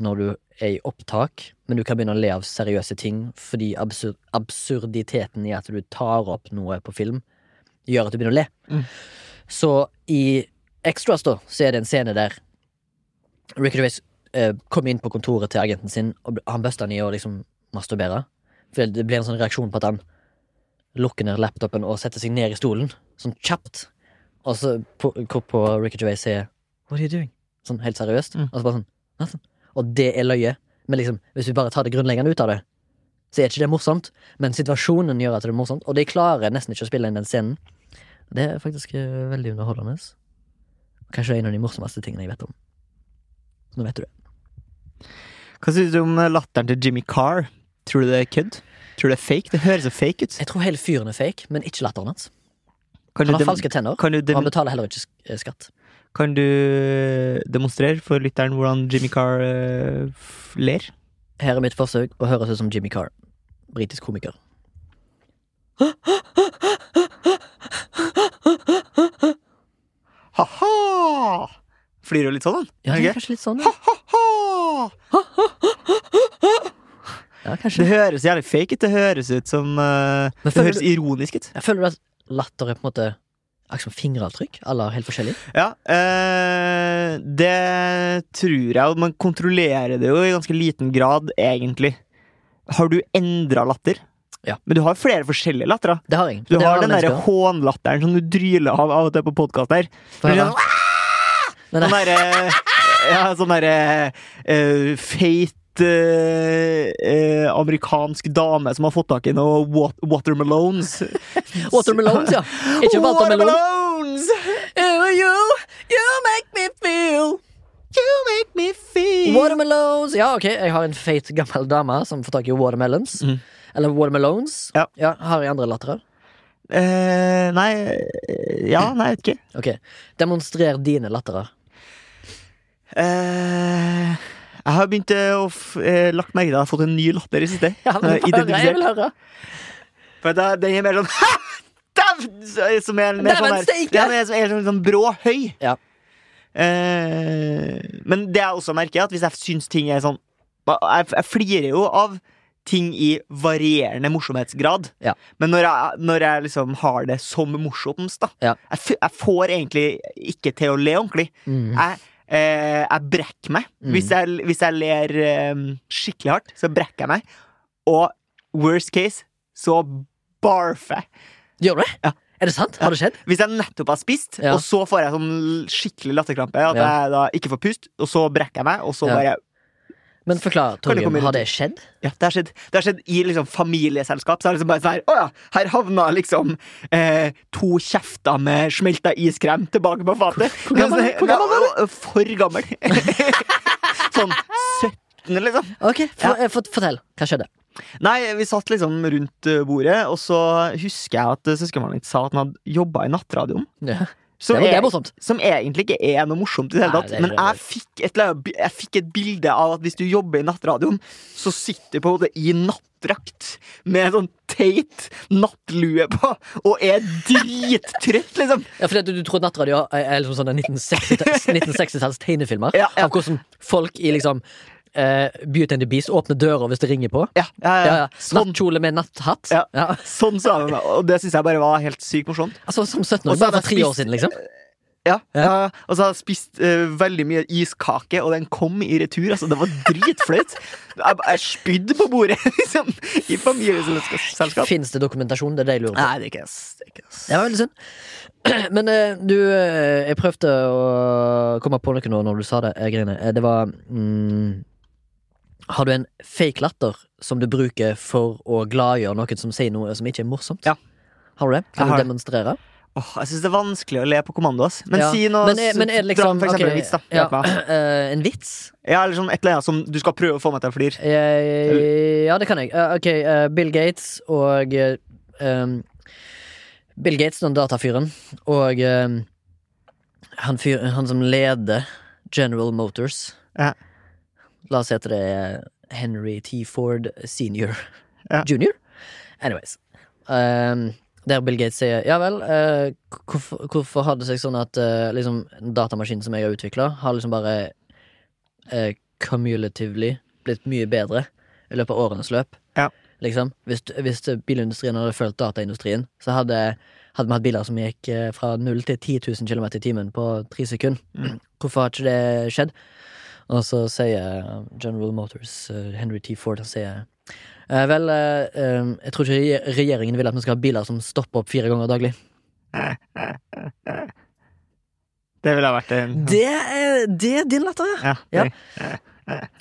[SPEAKER 2] når du er i opptak, men du kan begynne å le av seriøse ting fordi absur absurditeten i at du tar opp noe på film, gjør at du begynner å le.
[SPEAKER 1] Mm.
[SPEAKER 2] Så i Extras, da, så er det en scene der Ricky Gervais eh, kom inn på kontoret til agenten sin, og bl- han busta han i å liksom masturbere. For det blir en sånn reaksjon på at han lukker ned laptopen og setter seg ned i stolen, sånn kjapt. Og så på, hvorpå Ricky Gervais sier What are you doing? Sånn helt seriøst.
[SPEAKER 1] Mm.
[SPEAKER 2] Og så bare sånn Nothing. Og det er løye. Men liksom, hvis vi bare tar det grunnleggende ut av det, så er ikke det morsomt. Men situasjonen gjør at det er morsomt, og de klarer nesten ikke å spille inn den scenen. Det er faktisk eh, veldig underholdende. Kanskje det er en av de morsomste tingene jeg vet om. Nå vet du det.
[SPEAKER 1] Hva syns du om eh, latteren til Jimmy Carr? Tror du det er kødd? Tror du det er fake? Det høres så fake ut.
[SPEAKER 2] Jeg tror hele fyren er fake, men ikke latteren hans.
[SPEAKER 1] Kan du,
[SPEAKER 2] Han har
[SPEAKER 1] dem-
[SPEAKER 2] falske tenner,
[SPEAKER 1] kan du,
[SPEAKER 2] og han
[SPEAKER 1] dem
[SPEAKER 2] betaler heller ikke sk- eh, skatt.
[SPEAKER 1] kan du demonstrere for lytteren hvordan Jimmy Carr eh, f- ler?
[SPEAKER 2] Her er mitt forsøk på å høres ut som Jimmy Carr, britisk komiker.
[SPEAKER 1] Ha-ha! Flirer jo litt sånn, han.
[SPEAKER 2] Ja,
[SPEAKER 1] Ok.
[SPEAKER 2] det er kanskje litt sånn. ja.
[SPEAKER 1] Ha-ha!
[SPEAKER 2] Ja,
[SPEAKER 1] Det
[SPEAKER 2] kanskje.
[SPEAKER 1] høres jævlig fake ut. Det høres ut som eh,
[SPEAKER 2] Men
[SPEAKER 1] Det
[SPEAKER 2] føler
[SPEAKER 1] høres ironisk ut.
[SPEAKER 2] Jeg føler at latter er på en måte Akkurat som fingeravtrykk. Alle har helt forskjellig.
[SPEAKER 1] Ja, eh, det tror jeg. og Man kontrollerer det jo i ganske liten grad, egentlig. Har du endra latter?
[SPEAKER 2] Ja.
[SPEAKER 1] Men du har flere forskjellige latter. da.
[SPEAKER 2] Det har jeg.
[SPEAKER 1] Du
[SPEAKER 2] Det
[SPEAKER 1] har
[SPEAKER 2] alle
[SPEAKER 1] den derre
[SPEAKER 2] mennesker.
[SPEAKER 1] hånlatteren som du dryler av av og til på podkast her.
[SPEAKER 2] Få
[SPEAKER 1] Du
[SPEAKER 2] høre.
[SPEAKER 1] skjønner,
[SPEAKER 2] Nei,
[SPEAKER 1] Sånn
[SPEAKER 2] nei.
[SPEAKER 1] derre ja, sånn derre eh, feit eh, eh, amerikansk dame som har fått tak i noe wat watermelones.
[SPEAKER 2] Watermelons, ja. Ikke watermelon.
[SPEAKER 1] Watermelones!
[SPEAKER 2] You, you make me feel
[SPEAKER 1] You make me feel
[SPEAKER 2] Watermelons. Ja, ok, jeg har en feit gammel dame som får tak i watermelons.
[SPEAKER 1] Mhm.
[SPEAKER 2] Eller watermelons.
[SPEAKER 1] Ja.
[SPEAKER 2] har jeg andre latterer?
[SPEAKER 1] Eh, nei eh, Ja, nei, jeg vet ikke.
[SPEAKER 2] Ok. Demonstrer dine latterer.
[SPEAKER 1] Eh, jeg har begynt eh, å f eh, lagt merke til at jeg har fått en ny latter i siste.
[SPEAKER 2] Ja, men
[SPEAKER 1] Eh,
[SPEAKER 2] få høre, jeg vil høre.
[SPEAKER 1] For da, den er mer sånn Dæven! Som er mer sånn
[SPEAKER 2] Dæven
[SPEAKER 1] der
[SPEAKER 2] steike!
[SPEAKER 1] ja, men jeg er så- jeg er sånn, sånn brå høy.
[SPEAKER 2] Ja.
[SPEAKER 1] Eh, men det jeg også merker, er at hvis jeg syns ting er sånn Jeg, jeg flirer jo av ting i varierende morsomhetsgrad.
[SPEAKER 2] Ja.
[SPEAKER 1] Men når jeg, når jeg liksom har det som morsomst, da
[SPEAKER 2] Ja.
[SPEAKER 1] jeg, f jeg får egentlig ikke til å le ordentlig.
[SPEAKER 2] Mm.
[SPEAKER 1] Jeg, eh, jeg brekker meg.
[SPEAKER 2] Mm.
[SPEAKER 1] Hvis, jeg, hvis jeg ler eh, skikkelig hardt, så brekker jeg meg. Og worst case, så barfer jeg.
[SPEAKER 2] Gjør du det?
[SPEAKER 1] Ja.
[SPEAKER 2] Er det sant? Har det skjedd?
[SPEAKER 1] Hvis jeg nettopp har spist,
[SPEAKER 2] Ja.
[SPEAKER 1] og så får jeg sånn skikkelig latterkrampe, at
[SPEAKER 2] Ja.
[SPEAKER 1] jeg da ikke får pust, og så brekker jeg meg, og så
[SPEAKER 2] Ja.
[SPEAKER 1] bare
[SPEAKER 2] Men forklar,
[SPEAKER 1] Kan du
[SPEAKER 2] Torgrim.
[SPEAKER 1] komme inn
[SPEAKER 2] Har
[SPEAKER 1] til-
[SPEAKER 2] det skjedd?
[SPEAKER 1] Ja, det har skjedd, det har skjedd i liksom familieselskap. Så er det liksom bare sånn her Å ja, her havna liksom eh, to kjefter med smelta iskrem tilbake på fatet.
[SPEAKER 2] Hvor- hvor gammel-
[SPEAKER 1] Men sånn-
[SPEAKER 2] hvor gammel
[SPEAKER 1] Ja, å, For gammel. sånn 17, liksom.
[SPEAKER 2] Ok, for, eh, fort- Fortell. Hva skjedde?
[SPEAKER 1] Nei, vi satt liksom rundt eh, bordet, og så husker jeg at eh, søskenbarnet mitt sa at han hadde jobba i nattradioen.
[SPEAKER 2] Ja. Det,
[SPEAKER 1] Som,
[SPEAKER 2] var, det er
[SPEAKER 1] er,
[SPEAKER 2] morsomt.
[SPEAKER 1] som egentlig ikke er noe morsomt i det hele
[SPEAKER 2] Nei,
[SPEAKER 1] tatt.
[SPEAKER 2] det er
[SPEAKER 1] Men
[SPEAKER 2] ikke
[SPEAKER 1] jeg fikk, et, eller annet bi- jeg fikk et bilde av at hvis du jobber i nattradioen, så sitter du på en måte i nattdrakt med sånn teit nattlue på og er drittrøtt, liksom.
[SPEAKER 2] Ja, fordi at du, du tror at nattradio er, er liksom sånne 1960-talls 1960-talls tegnefilmer?
[SPEAKER 1] Ja, ja.
[SPEAKER 2] Av hvordan folk i liksom eh, Beauty and the Beast åpner døra hvis det ringer på?
[SPEAKER 1] Ja, ja, ja.
[SPEAKER 2] Ja, ja.
[SPEAKER 1] Sånn,
[SPEAKER 2] Nattkjole med natthatt?
[SPEAKER 1] Ja.
[SPEAKER 2] Ja.
[SPEAKER 1] sånn sa han, og det syns jeg bare var helt sykt morsomt.
[SPEAKER 2] Altså Som
[SPEAKER 1] Og
[SPEAKER 2] 17-åring,
[SPEAKER 1] så har
[SPEAKER 2] bare for
[SPEAKER 1] jeg
[SPEAKER 2] tre år
[SPEAKER 1] spist-
[SPEAKER 2] siden, liksom.
[SPEAKER 1] Ja,
[SPEAKER 2] Ja.
[SPEAKER 1] ja. ja. Og så har jeg spist eh, veldig mye iskake, og den kom i retur. Altså, det var dritflaut. jeg, jeg spydde på bordet, liksom, i familieselskap.
[SPEAKER 2] Fins det dokumentasjon? Det er det jeg lurer på.
[SPEAKER 1] Nei, det er ikke ass. Det er ikke ass.
[SPEAKER 2] Det var veldig synd. Men eh, du, eh, jeg prøvde å komme på noe nå når du sa det. eh, greiene. Eh, Det var mm, Har du en fake latter som du bruker for å gladgjøre noen som sier noe som ikke er morsomt?
[SPEAKER 1] Ja.
[SPEAKER 2] Har du det?
[SPEAKER 1] Jeg
[SPEAKER 2] Kan
[SPEAKER 1] har
[SPEAKER 2] du
[SPEAKER 1] det.
[SPEAKER 2] demonstrere?
[SPEAKER 1] Åh, jeg syns det er vanskelig å le på kommando. Ass. Men
[SPEAKER 2] Ja.
[SPEAKER 1] si noe
[SPEAKER 2] Men er-
[SPEAKER 1] s-
[SPEAKER 2] men er det
[SPEAKER 1] dra
[SPEAKER 2] liksom-
[SPEAKER 1] for eksempel
[SPEAKER 2] ok,
[SPEAKER 1] en vits, da.
[SPEAKER 2] ja.
[SPEAKER 1] Hjelp meg.
[SPEAKER 2] Eh, en vits?
[SPEAKER 1] Ja, eller sånn et eller annet som du skal prøve å få meg til å flire.
[SPEAKER 2] Eh, ja, det kan jeg. Eh, ok, eh, Bill Gates og eh, em, Bill Gates, den datafyren, og em, han, fyr, han som leder General Motors
[SPEAKER 1] Ja.
[SPEAKER 2] La oss si at det er Henry T. Ford senior.
[SPEAKER 1] Ja.
[SPEAKER 2] Junior? Anyways. Em, der Bill Gates sier ja vel, eh, hvorfor, hvorfor har det seg sånn at eh, liksom, datamaskinen som jeg har utvikla, har liksom bare eh, cumulatively blitt mye bedre i løpet av årenes løp.
[SPEAKER 1] Ja.
[SPEAKER 2] Liksom. Hvis, hvis bilindustrien hadde fulgt dataindustrien, så hadde, hadde vi hatt biler som gikk eh, fra 0 til 10 000 km i timen på tre sekunder. Hvorfor har ikke det skjedd? Og så sier General Motors, eh, Henry T. Ford, han sier eh, Vel, eh, eh, jeg tror ikke regje- regjeringen vil at vi skal ha biler som stopper opp fire ganger daglig.
[SPEAKER 1] Det ville ha vært en,
[SPEAKER 2] Det er, det er din latter, ja.
[SPEAKER 1] ja,
[SPEAKER 2] Ja.
[SPEAKER 1] det-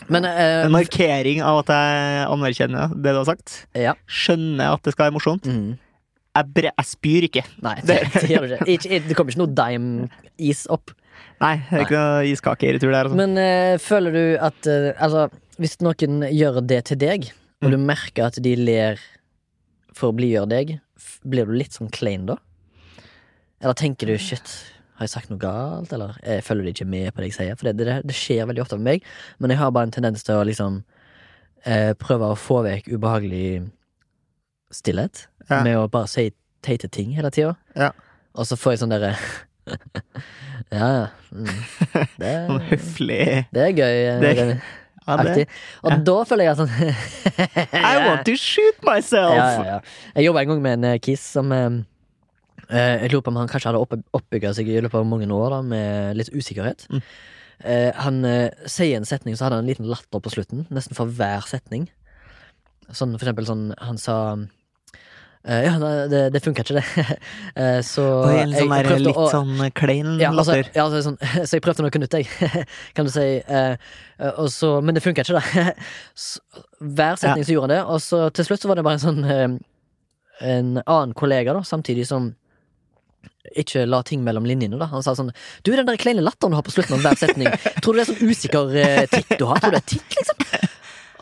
[SPEAKER 2] Men eh,
[SPEAKER 1] en markering av at jeg anerkjenner det du har sagt.
[SPEAKER 2] Ja.
[SPEAKER 1] Skjønner at det skal være morsomt.
[SPEAKER 2] Mm.
[SPEAKER 1] Jeg, bre jeg spyr ikke.
[SPEAKER 2] Nei, det,
[SPEAKER 1] Det-
[SPEAKER 2] det gjør du ikke. ikke. Det kommer ikke noe dime-is opp.
[SPEAKER 1] Nei, det er ikke noe iskake i retur der. Altså.
[SPEAKER 2] Men eh, føler du at eh, Altså, hvis noen gjør det til deg, og du
[SPEAKER 1] Mm.
[SPEAKER 2] merker at de ler for å blidgjøre deg, f- blir du litt sånn klein da? Eller tenker du 'shit, har jeg sagt noe galt', eller eh, følger de ikke med på det jeg sier? For det, det, det skjer veldig ofte med meg, men jeg har bare en tendens til å liksom eh, prøve å få vekk ubehagelig stillhet
[SPEAKER 1] Ja.
[SPEAKER 2] med å bare si teite ting hele tida.
[SPEAKER 1] Ja.
[SPEAKER 2] Og så får jeg sånn derre Ja, ja. Mm. Det
[SPEAKER 1] Sånn høflig
[SPEAKER 2] det er gøy.
[SPEAKER 1] Det-
[SPEAKER 2] Remi.
[SPEAKER 1] ja, det.
[SPEAKER 2] Aktig. Og da føler jeg sånn
[SPEAKER 1] I want to shoot myself!
[SPEAKER 2] ja, ja, ja. Jeg jobba en gang med en eh, kis som eh, Eh, Jeg lurer på om han kanskje hadde opp- oppbygget seg i løpet av mange år da, med litt usikkerhet.
[SPEAKER 1] Mm.
[SPEAKER 2] Eh, Han eh, sier en setning, så hadde han en liten latter på slutten, nesten for hver setning. Sånn for eksempel sånn, han sa eh, Ja, nei, det, det funka ikke, det. Eh, så
[SPEAKER 1] Og en
[SPEAKER 2] jeg
[SPEAKER 1] sånn der,
[SPEAKER 2] prøvde
[SPEAKER 1] litt
[SPEAKER 2] å
[SPEAKER 1] sånn klein
[SPEAKER 2] ja, altså,
[SPEAKER 1] latter.
[SPEAKER 2] ja, altså, sånn, så jeg prøvde noe nytt, jeg. Kan du si. eh, eh, og så, men det funka ikke, da. Så, hver setning så gjorde han det, og så til slutt så var det bare en sånn eh, En annen kollega, da, samtidig som ikke la ting mellom linjene. da Han sa sånn Du, den der kleine latteren du har på slutten av hver setning, tror du det er sånn usikker eh, tikk du har? Tror du det er tikk, liksom?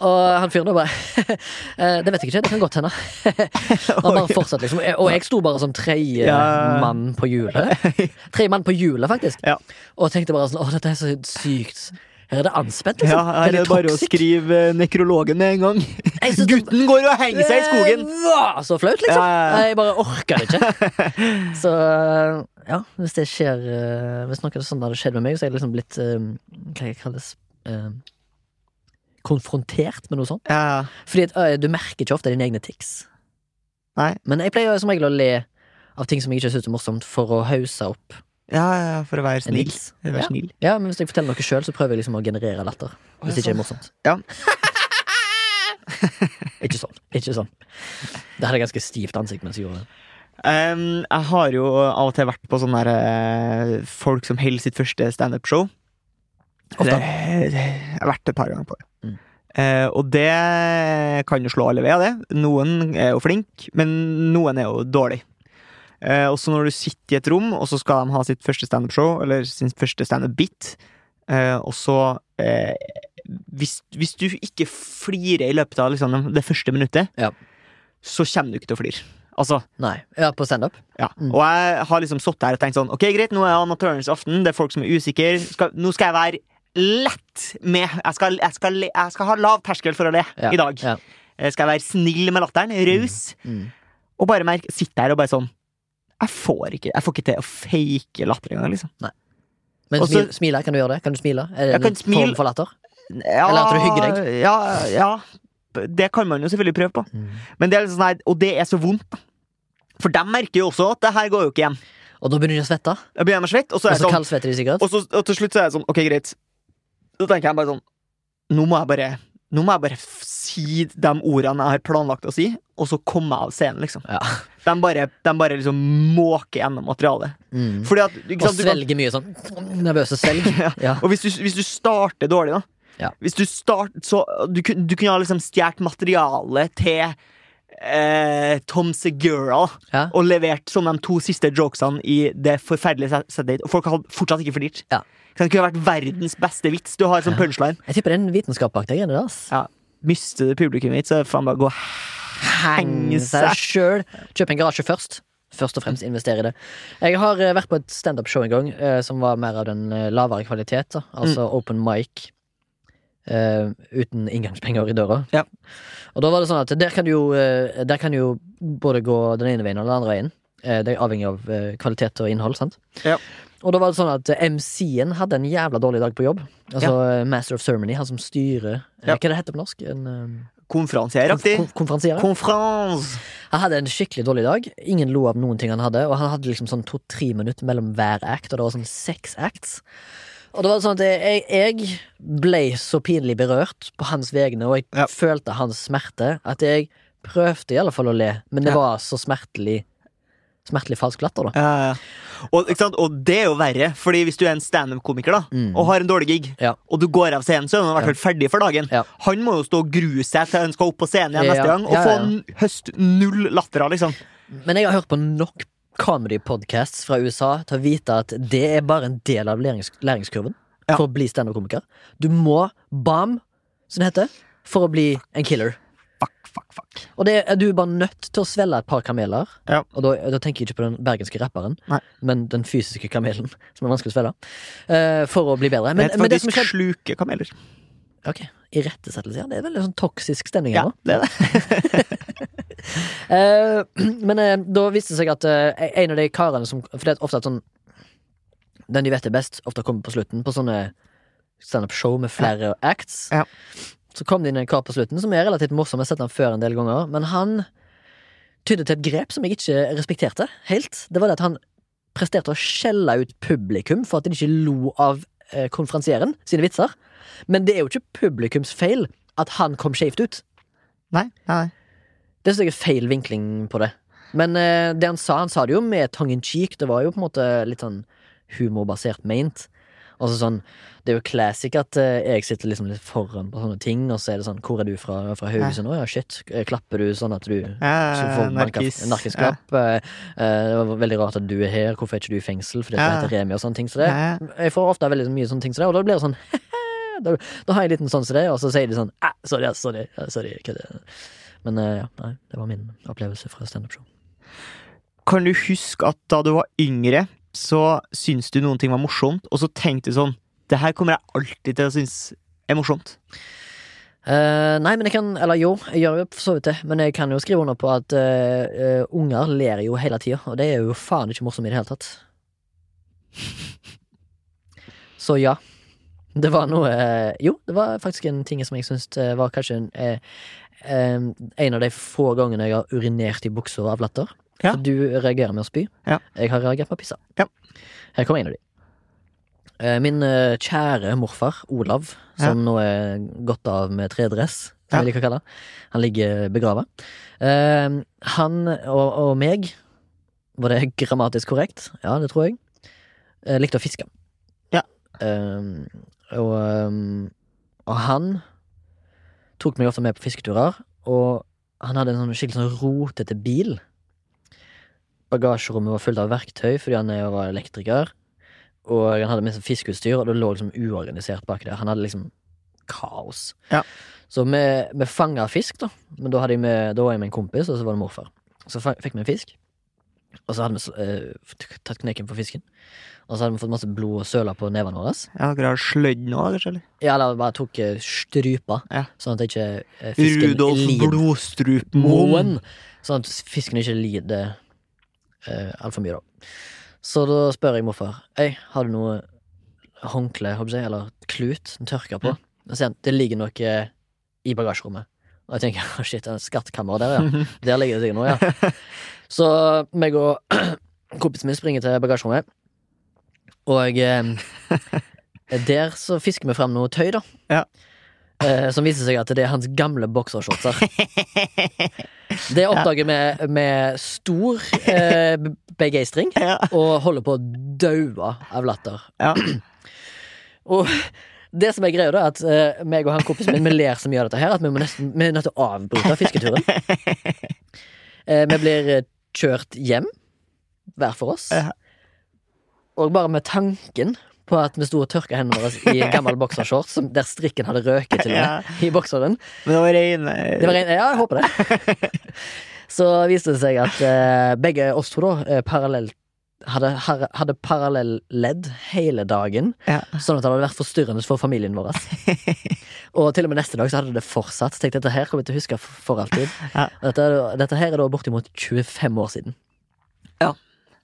[SPEAKER 2] Og han fyren da bare eh, Det vet jeg ikke, det kan godt hende. Han bare fortsatte, liksom. Og jeg sto bare som eh, tredje
[SPEAKER 1] Ja.
[SPEAKER 2] mann på hjulet. Tre mann på hjulet, faktisk.
[SPEAKER 1] Ja.
[SPEAKER 2] Og tenkte bare sånn Å, dette er så sykt. Her er det anspent, liksom.
[SPEAKER 1] Ja, her er det
[SPEAKER 2] litt
[SPEAKER 1] bare å
[SPEAKER 2] toxic.
[SPEAKER 1] skrive eh, nekrologen med en gang.
[SPEAKER 2] Jeg synes det-
[SPEAKER 1] Gutten går og henger seg i skogen!
[SPEAKER 2] Det var så flaut, liksom.
[SPEAKER 1] Ja, ja, ja.
[SPEAKER 2] Jeg bare orka det ikke. Så ja, hvis det skjer eh, Hvis noe sånt hadde skjedd med meg, så er jeg liksom blitt eh, Hva jeg kalles eh, Konfrontert med noe sånt.
[SPEAKER 1] Ja,
[SPEAKER 2] Fordi at, eh, du merker ikke ofte dine egne tics.
[SPEAKER 1] Nei.
[SPEAKER 2] Men jeg pleier som regel å le av ting som jeg ikke syns er morsomt, for å hause opp
[SPEAKER 1] ja, ja, for å være
[SPEAKER 2] en
[SPEAKER 1] snill.
[SPEAKER 2] vits.
[SPEAKER 1] Vær
[SPEAKER 2] Ja.
[SPEAKER 1] snill.
[SPEAKER 2] Ja, men hvis jeg forteller noe sjøl, så prøver jeg liksom å generere latter. Hvis det ikke er morsomt.
[SPEAKER 1] Ja.
[SPEAKER 2] ikke sånn. Ikke sånn. Det hadde ganske stivt ansikt mens jeg gjorde det.
[SPEAKER 1] Em, jeg har jo av og til vært på sånne der, eh, folk som holder sitt første standup-show.
[SPEAKER 2] Ofte.
[SPEAKER 1] Det- Jeg har vært et par ganger på det.
[SPEAKER 2] Mm.
[SPEAKER 1] Eh, og det kan jo slå alle veier, det. Noen er jo flink, men noen er jo dårlig. Eh, og så når du sitter i et rom, og så skal de ha sitt første standup-show, eller sin første standup-bit, eh, og så eh, hvis, hvis du ikke flirer i løpet av liksom, det første minuttet,
[SPEAKER 2] Ja.
[SPEAKER 1] så kommer du ikke til å flire. Altså,
[SPEAKER 2] Nei. Ja, på standup?
[SPEAKER 1] ja,
[SPEAKER 2] Mm.
[SPEAKER 1] og jeg har liksom sittet her og tenkt sånn Ok, greit, nå er amatørenes aften, det er folk som er usikre. Skal, nå skal jeg være lett med. Jeg skal, jeg skal, le- jeg skal ha lav terskel for å le
[SPEAKER 2] Ja.
[SPEAKER 1] i dag.
[SPEAKER 2] Ja.
[SPEAKER 1] Jeg skal være snill med latteren, raus,
[SPEAKER 2] Mm.
[SPEAKER 1] og bare merke Sitte her og bare sånn Jeg får ikke, jeg får ikke til å fake latter engang, liksom.
[SPEAKER 2] Men
[SPEAKER 1] Og så-
[SPEAKER 2] smil, smile, kan du gjøre det? Kan du smile? Er det
[SPEAKER 1] Jeg kan
[SPEAKER 2] en
[SPEAKER 1] smile.
[SPEAKER 2] form for latter?
[SPEAKER 1] Ja,
[SPEAKER 2] Eller at du hygger deg.
[SPEAKER 1] Ja, ja. Det kan man jo selvfølgelig prøve på. Men det er litt sånn her, og det er så vondt. da. For de merker jo også at det her går jo ikke hjem.
[SPEAKER 2] Og da begynner de å svette,
[SPEAKER 1] Jeg begynner å svette, og så
[SPEAKER 2] og
[SPEAKER 1] er jeg
[SPEAKER 2] så
[SPEAKER 1] sånn
[SPEAKER 2] kaldsvetter de sikkert.
[SPEAKER 1] Og, så, og til slutt så er jeg sånn, ok, greit. Da tenker jeg bare sånn, nå må jeg bare, nå må jeg bare f- si de ordene jeg har planlagt å si, og så komme av scenen, liksom.
[SPEAKER 2] Ja.
[SPEAKER 1] De bare, de bare liksom måker gjennom materialet.
[SPEAKER 2] Mm.
[SPEAKER 1] Fordi at, ikke
[SPEAKER 2] Og
[SPEAKER 1] sant, du kan,
[SPEAKER 2] svelger mye sånn nervøse svelg.
[SPEAKER 1] Ja.
[SPEAKER 2] ja.
[SPEAKER 1] og hvis du, hvis du starter dårlig, da.
[SPEAKER 2] Ja.
[SPEAKER 1] Hvis du start, så du, kun- du kunne ha liksom stjert materialet til eh, Tom Segura, da,
[SPEAKER 2] Ja.
[SPEAKER 1] og levert som de to siste jokesene i det forferdelige set- settet ditt, og folk hadde fortsatt ikke flirt.
[SPEAKER 2] Ja.
[SPEAKER 1] Ikke sant, Det kunne vært verdens beste vits. Du har sånn punchline.
[SPEAKER 2] Jeg tipper det er en vitenskap bak det greiene der. ass.
[SPEAKER 1] ja, mister det publikummet mitt, så er det faen bare gå og henge
[SPEAKER 2] seg
[SPEAKER 1] seg.
[SPEAKER 2] sjøl. Kjøp en garasje først. Først og fremst investere i det. Jeg har eh, vært på et standup-show en gang eh, som var mer av den eh, lavere kvalitet. Da. Altså
[SPEAKER 1] Mm.
[SPEAKER 2] open mic. eh, uten inngangspenger i døra.
[SPEAKER 1] Ja.
[SPEAKER 2] Og da var det sånn at der kan du jo, eh, der kan du jo både gå den ene veien og den andre veien. Eh, det er avhengig av eh, kvalitet og innhold, sant?
[SPEAKER 1] Ja.
[SPEAKER 2] Og da var det sånn at eh, MC-en hadde en jævla dårlig dag på jobb. Altså eh, Master of Ceremony, han som styrer eh,
[SPEAKER 1] Ja.
[SPEAKER 2] Hva det heter det på norsk? En eh,
[SPEAKER 1] Konferansieraktig.
[SPEAKER 2] konf- konferansier?
[SPEAKER 1] Konferanse!
[SPEAKER 2] Han hadde en skikkelig dårlig dag. Ingen lo av noen ting han hadde. Og han hadde liksom sånn to-tre minutter mellom hver act, og det var sånn seks acts. Og det var sånn at jeg, jeg ble så pinlig berørt på hans vegne, og jeg
[SPEAKER 1] Ja.
[SPEAKER 2] følte hans smerte, at jeg prøvde i alle fall å le, men det
[SPEAKER 1] Ja.
[SPEAKER 2] var så smertelig Smertelig falsk latter, da.
[SPEAKER 1] Ja, ja. Og, ikke sant? og det er jo verre, Fordi hvis du er en standup-komiker da
[SPEAKER 2] Mm.
[SPEAKER 1] og har en dårlig gig,
[SPEAKER 2] Ja.
[SPEAKER 1] og du går av scenen, så er han i hvert fall ferdig for dagen.
[SPEAKER 2] Ja.
[SPEAKER 1] Han må jo stå og grue seg til han skal opp på scenen igjen
[SPEAKER 2] Ja,
[SPEAKER 1] neste gang, og
[SPEAKER 2] ja,
[SPEAKER 1] få
[SPEAKER 2] ja.
[SPEAKER 1] n- høst null latter av, liksom.
[SPEAKER 2] Men jeg har hørt på nok comedy-podcasts fra USA til å vite at det er bare en del av lærings læringskurven
[SPEAKER 1] Ja.
[SPEAKER 2] for å bli standup-komiker. Du må bam, som det heter, for å bli en killer.
[SPEAKER 1] Fuck, fuck, fuck.
[SPEAKER 2] Og det er du er bare nødt til å svelle et par kameler.
[SPEAKER 1] Ja.
[SPEAKER 2] Og da, da tenker jeg ikke på den bergenske rapperen,
[SPEAKER 1] Nei.
[SPEAKER 2] men den fysiske kamelen. Som er vanskelig å svelle. eh, for å bli bedre.
[SPEAKER 1] Men,
[SPEAKER 2] Men, men det som
[SPEAKER 1] faktisk
[SPEAKER 2] skjer
[SPEAKER 1] sluke kameler.
[SPEAKER 2] Ok, Irettesettelse, ja. Det er veldig sånn toksisk stemning
[SPEAKER 1] Ja,
[SPEAKER 2] her nå.
[SPEAKER 1] det er det.
[SPEAKER 2] Eh, men eh, da viste det seg at eh, en av de karene som For det er ofte at sånn Den de vet er best, ofte kommer på slutten på sånne standup-show med flere acts.
[SPEAKER 1] Ja.
[SPEAKER 2] Så kom det inn en kar på slutten som er relativt morsom. Jeg har sett han før en del ganger. Men han tydde til et grep som jeg ikke respekterte helt. Det var det at han presterte å skjelle ut publikum for at de ikke lo av eh, konferansieren sine vitser. Men det er jo ikke publikums feil at han kom skjevt ut.
[SPEAKER 1] Nei, nei, nei.
[SPEAKER 2] Det synes jeg er feil vinkling på det. Men eh, det han sa, han sa det jo med tongue in cheek. Det var jo på en måte litt sånn humorbasert meint. Altså sånn, Det er jo classic at eh, jeg sitter liksom litt foran på sånne ting, og så er det sånn 'Hvor er du fra, fra Haugesund?' 'Å ja, shit.' Klapper du sånn at du
[SPEAKER 1] Eh,
[SPEAKER 2] så får man
[SPEAKER 1] narkis.
[SPEAKER 2] kaff- narkiskap. Eh, eh, det var veldig rart at du er her, hvorfor er ikke du i fengsel? Fordi
[SPEAKER 1] Ja.
[SPEAKER 2] det heter Remi og sånne ting som det.
[SPEAKER 1] Ja. Eh,
[SPEAKER 2] Eh, Jeg får ofte veldig mye sånne ting som det, og da blir det sånn da, da har jeg en liten sånn som det, og så sier de sånn «Ah, Sorry, ass, sorry. ja, sorry hva det?» Men eh, ja, nei, det var min opplevelse fra standup-show.
[SPEAKER 1] Kan du huske at da du var yngre, så syntes du noen ting var morsomt, og så tenkte du sånn Det her kommer jeg alltid til å synes er morsomt.
[SPEAKER 2] Eh, nei, men jeg kan Eller jo, jeg gjør jo for så vidt det, men jeg kan jo skrive under på at eh, eh, unger ler jo hele tida, og det er jo faen ikke morsomt i det hele tatt. Så ja. Det var noe eh, Jo, det var faktisk en ting som jeg syns eh, var kanskje en, eh, eh, en av de få gangene jeg har urinert i buksa av latter.
[SPEAKER 1] Ja.
[SPEAKER 2] For du reagerer med å spy.
[SPEAKER 1] Ja.
[SPEAKER 2] Jeg har reagert med å pisse.
[SPEAKER 1] Ja.
[SPEAKER 2] Her kommer en av de. Eh, Min eh, kjære morfar, Olav, som nå er gått av med tredress, som
[SPEAKER 1] Ja.
[SPEAKER 2] jeg liker å kalle det. Han ligger begrava. Eh, Han og, og meg, var det grammatisk korrekt? Ja, det tror jeg. eh, Likte å fiske.
[SPEAKER 1] Ja.
[SPEAKER 2] Eh, og, eh, og han tok meg ofte med på fisketurer, og han hadde en sånn skikkelig sånn rotete bil. Bagasjerommet var fullt av verktøy fordi han er- var elektriker. Og han hadde med seg fiskeutstyr, og det lå liksom uorganisert bak der. Han hadde liksom kaos.
[SPEAKER 1] Ja.
[SPEAKER 2] Så vi, vi fanga fisk, da. Men da, hadde jeg med, da var jeg med en kompis, og så var det morfar. Så fa- fikk vi en fisk, og så hadde vi s- eh, tatt kneken på fisken. Og så hadde vi fått masse blod og søle på nevene våre.
[SPEAKER 1] Ja, dere har slødd nå, kanskje? eller?
[SPEAKER 2] Ja, eller bare tok eh, strypa,
[SPEAKER 1] Ja.
[SPEAKER 2] sånn at ikke eh, fisken
[SPEAKER 1] Rudolf
[SPEAKER 2] lider
[SPEAKER 1] Blodstrupmoen.
[SPEAKER 2] Sånn at fisken ikke lider eh, altfor mye, da. Så da spør jeg morfar Øy, har du noe håndkle, håper jeg, eller klut, en tørker på? Og så sier han det ligger noe i bagasjerommet. Og jeg tenker «Å, shit, det er en skattkammer der, ja. Der ligger det sikkert noe, ja. Så meg og kompisen min springer til bagasjerommet, og eh, der så fisker vi fram noe tøy, da.
[SPEAKER 1] Ja.
[SPEAKER 2] Eh, som viser seg at det er hans gamle boksershortser. Det oppdager vi med stor eh, be- begeistring,
[SPEAKER 1] Ja.
[SPEAKER 2] og holder på å daue av latter.
[SPEAKER 1] Ja.
[SPEAKER 2] Og det som er greia, da, er at eh, meg og han kompisen min vi ler så mye av dette her at vi, må nesten, vi er nødt til å avbryte fisketuren. Eh, vi blir eh, kjørt hjem, hver for oss.
[SPEAKER 1] Ja.
[SPEAKER 2] Og bare med tanken på at vi sto og tørka hendene våre i en gammel boksershorts som- der strikken hadde røket til og med, i bokseren.
[SPEAKER 1] Men det var reine
[SPEAKER 2] Det var en, ja, jeg håper det. Så viste det seg at eh, begge oss to da, eh, parallelt hadde, har- hadde parallelledd hele dagen,
[SPEAKER 1] Ja.
[SPEAKER 2] sånn at det hadde vært forstyrrende for familien vår. og til og med neste dag så hadde det fortsatt. Så tenkte jeg, dette her kommer jeg til å huske for, for alltid.
[SPEAKER 1] Ja.
[SPEAKER 2] Og Dette, er da- dette her er da bortimot 25 år siden.
[SPEAKER 1] Ja.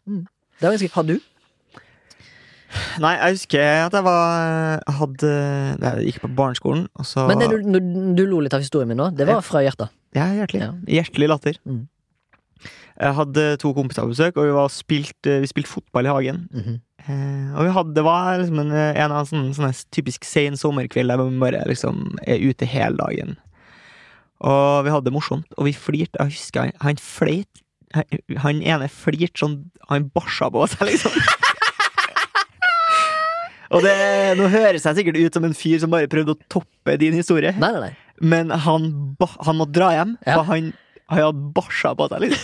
[SPEAKER 2] Mm. Det var ganske, har du?
[SPEAKER 1] Nei, jeg husker at jeg var jeg hadde, Jeg gikk på barneskolen, og så
[SPEAKER 2] Men det, du, du, du lo litt av historien min nå. Det var fra hjertet.
[SPEAKER 1] Ah. Ja, hjertelig.
[SPEAKER 2] Ja.
[SPEAKER 1] Hjertelig latter.
[SPEAKER 2] Mm.
[SPEAKER 1] Jeg hadde to kompiser på besøk, og vi, var spilt, eh, vi spilte fotball i hagen.
[SPEAKER 2] Mhm.
[SPEAKER 1] Eh, og vi hadde, det var liksom en, en av sånne, sånne typisk sen sommerkveld der man bare liksom er ute hele dagen. Og vi hadde det morsomt, og vi flirte. Jeg husker han, han fleit han, han ene flirte sånn Han barsa på seg, liksom. og det, nå høres jeg sikkert ut som en fyr som bare prøvde å toppe din historie.
[SPEAKER 2] Nei, nei, nei.
[SPEAKER 1] Men han, ba- han måtte dra hjem,
[SPEAKER 2] Ja.
[SPEAKER 1] for han, han hadde barsa på seg. Liksom.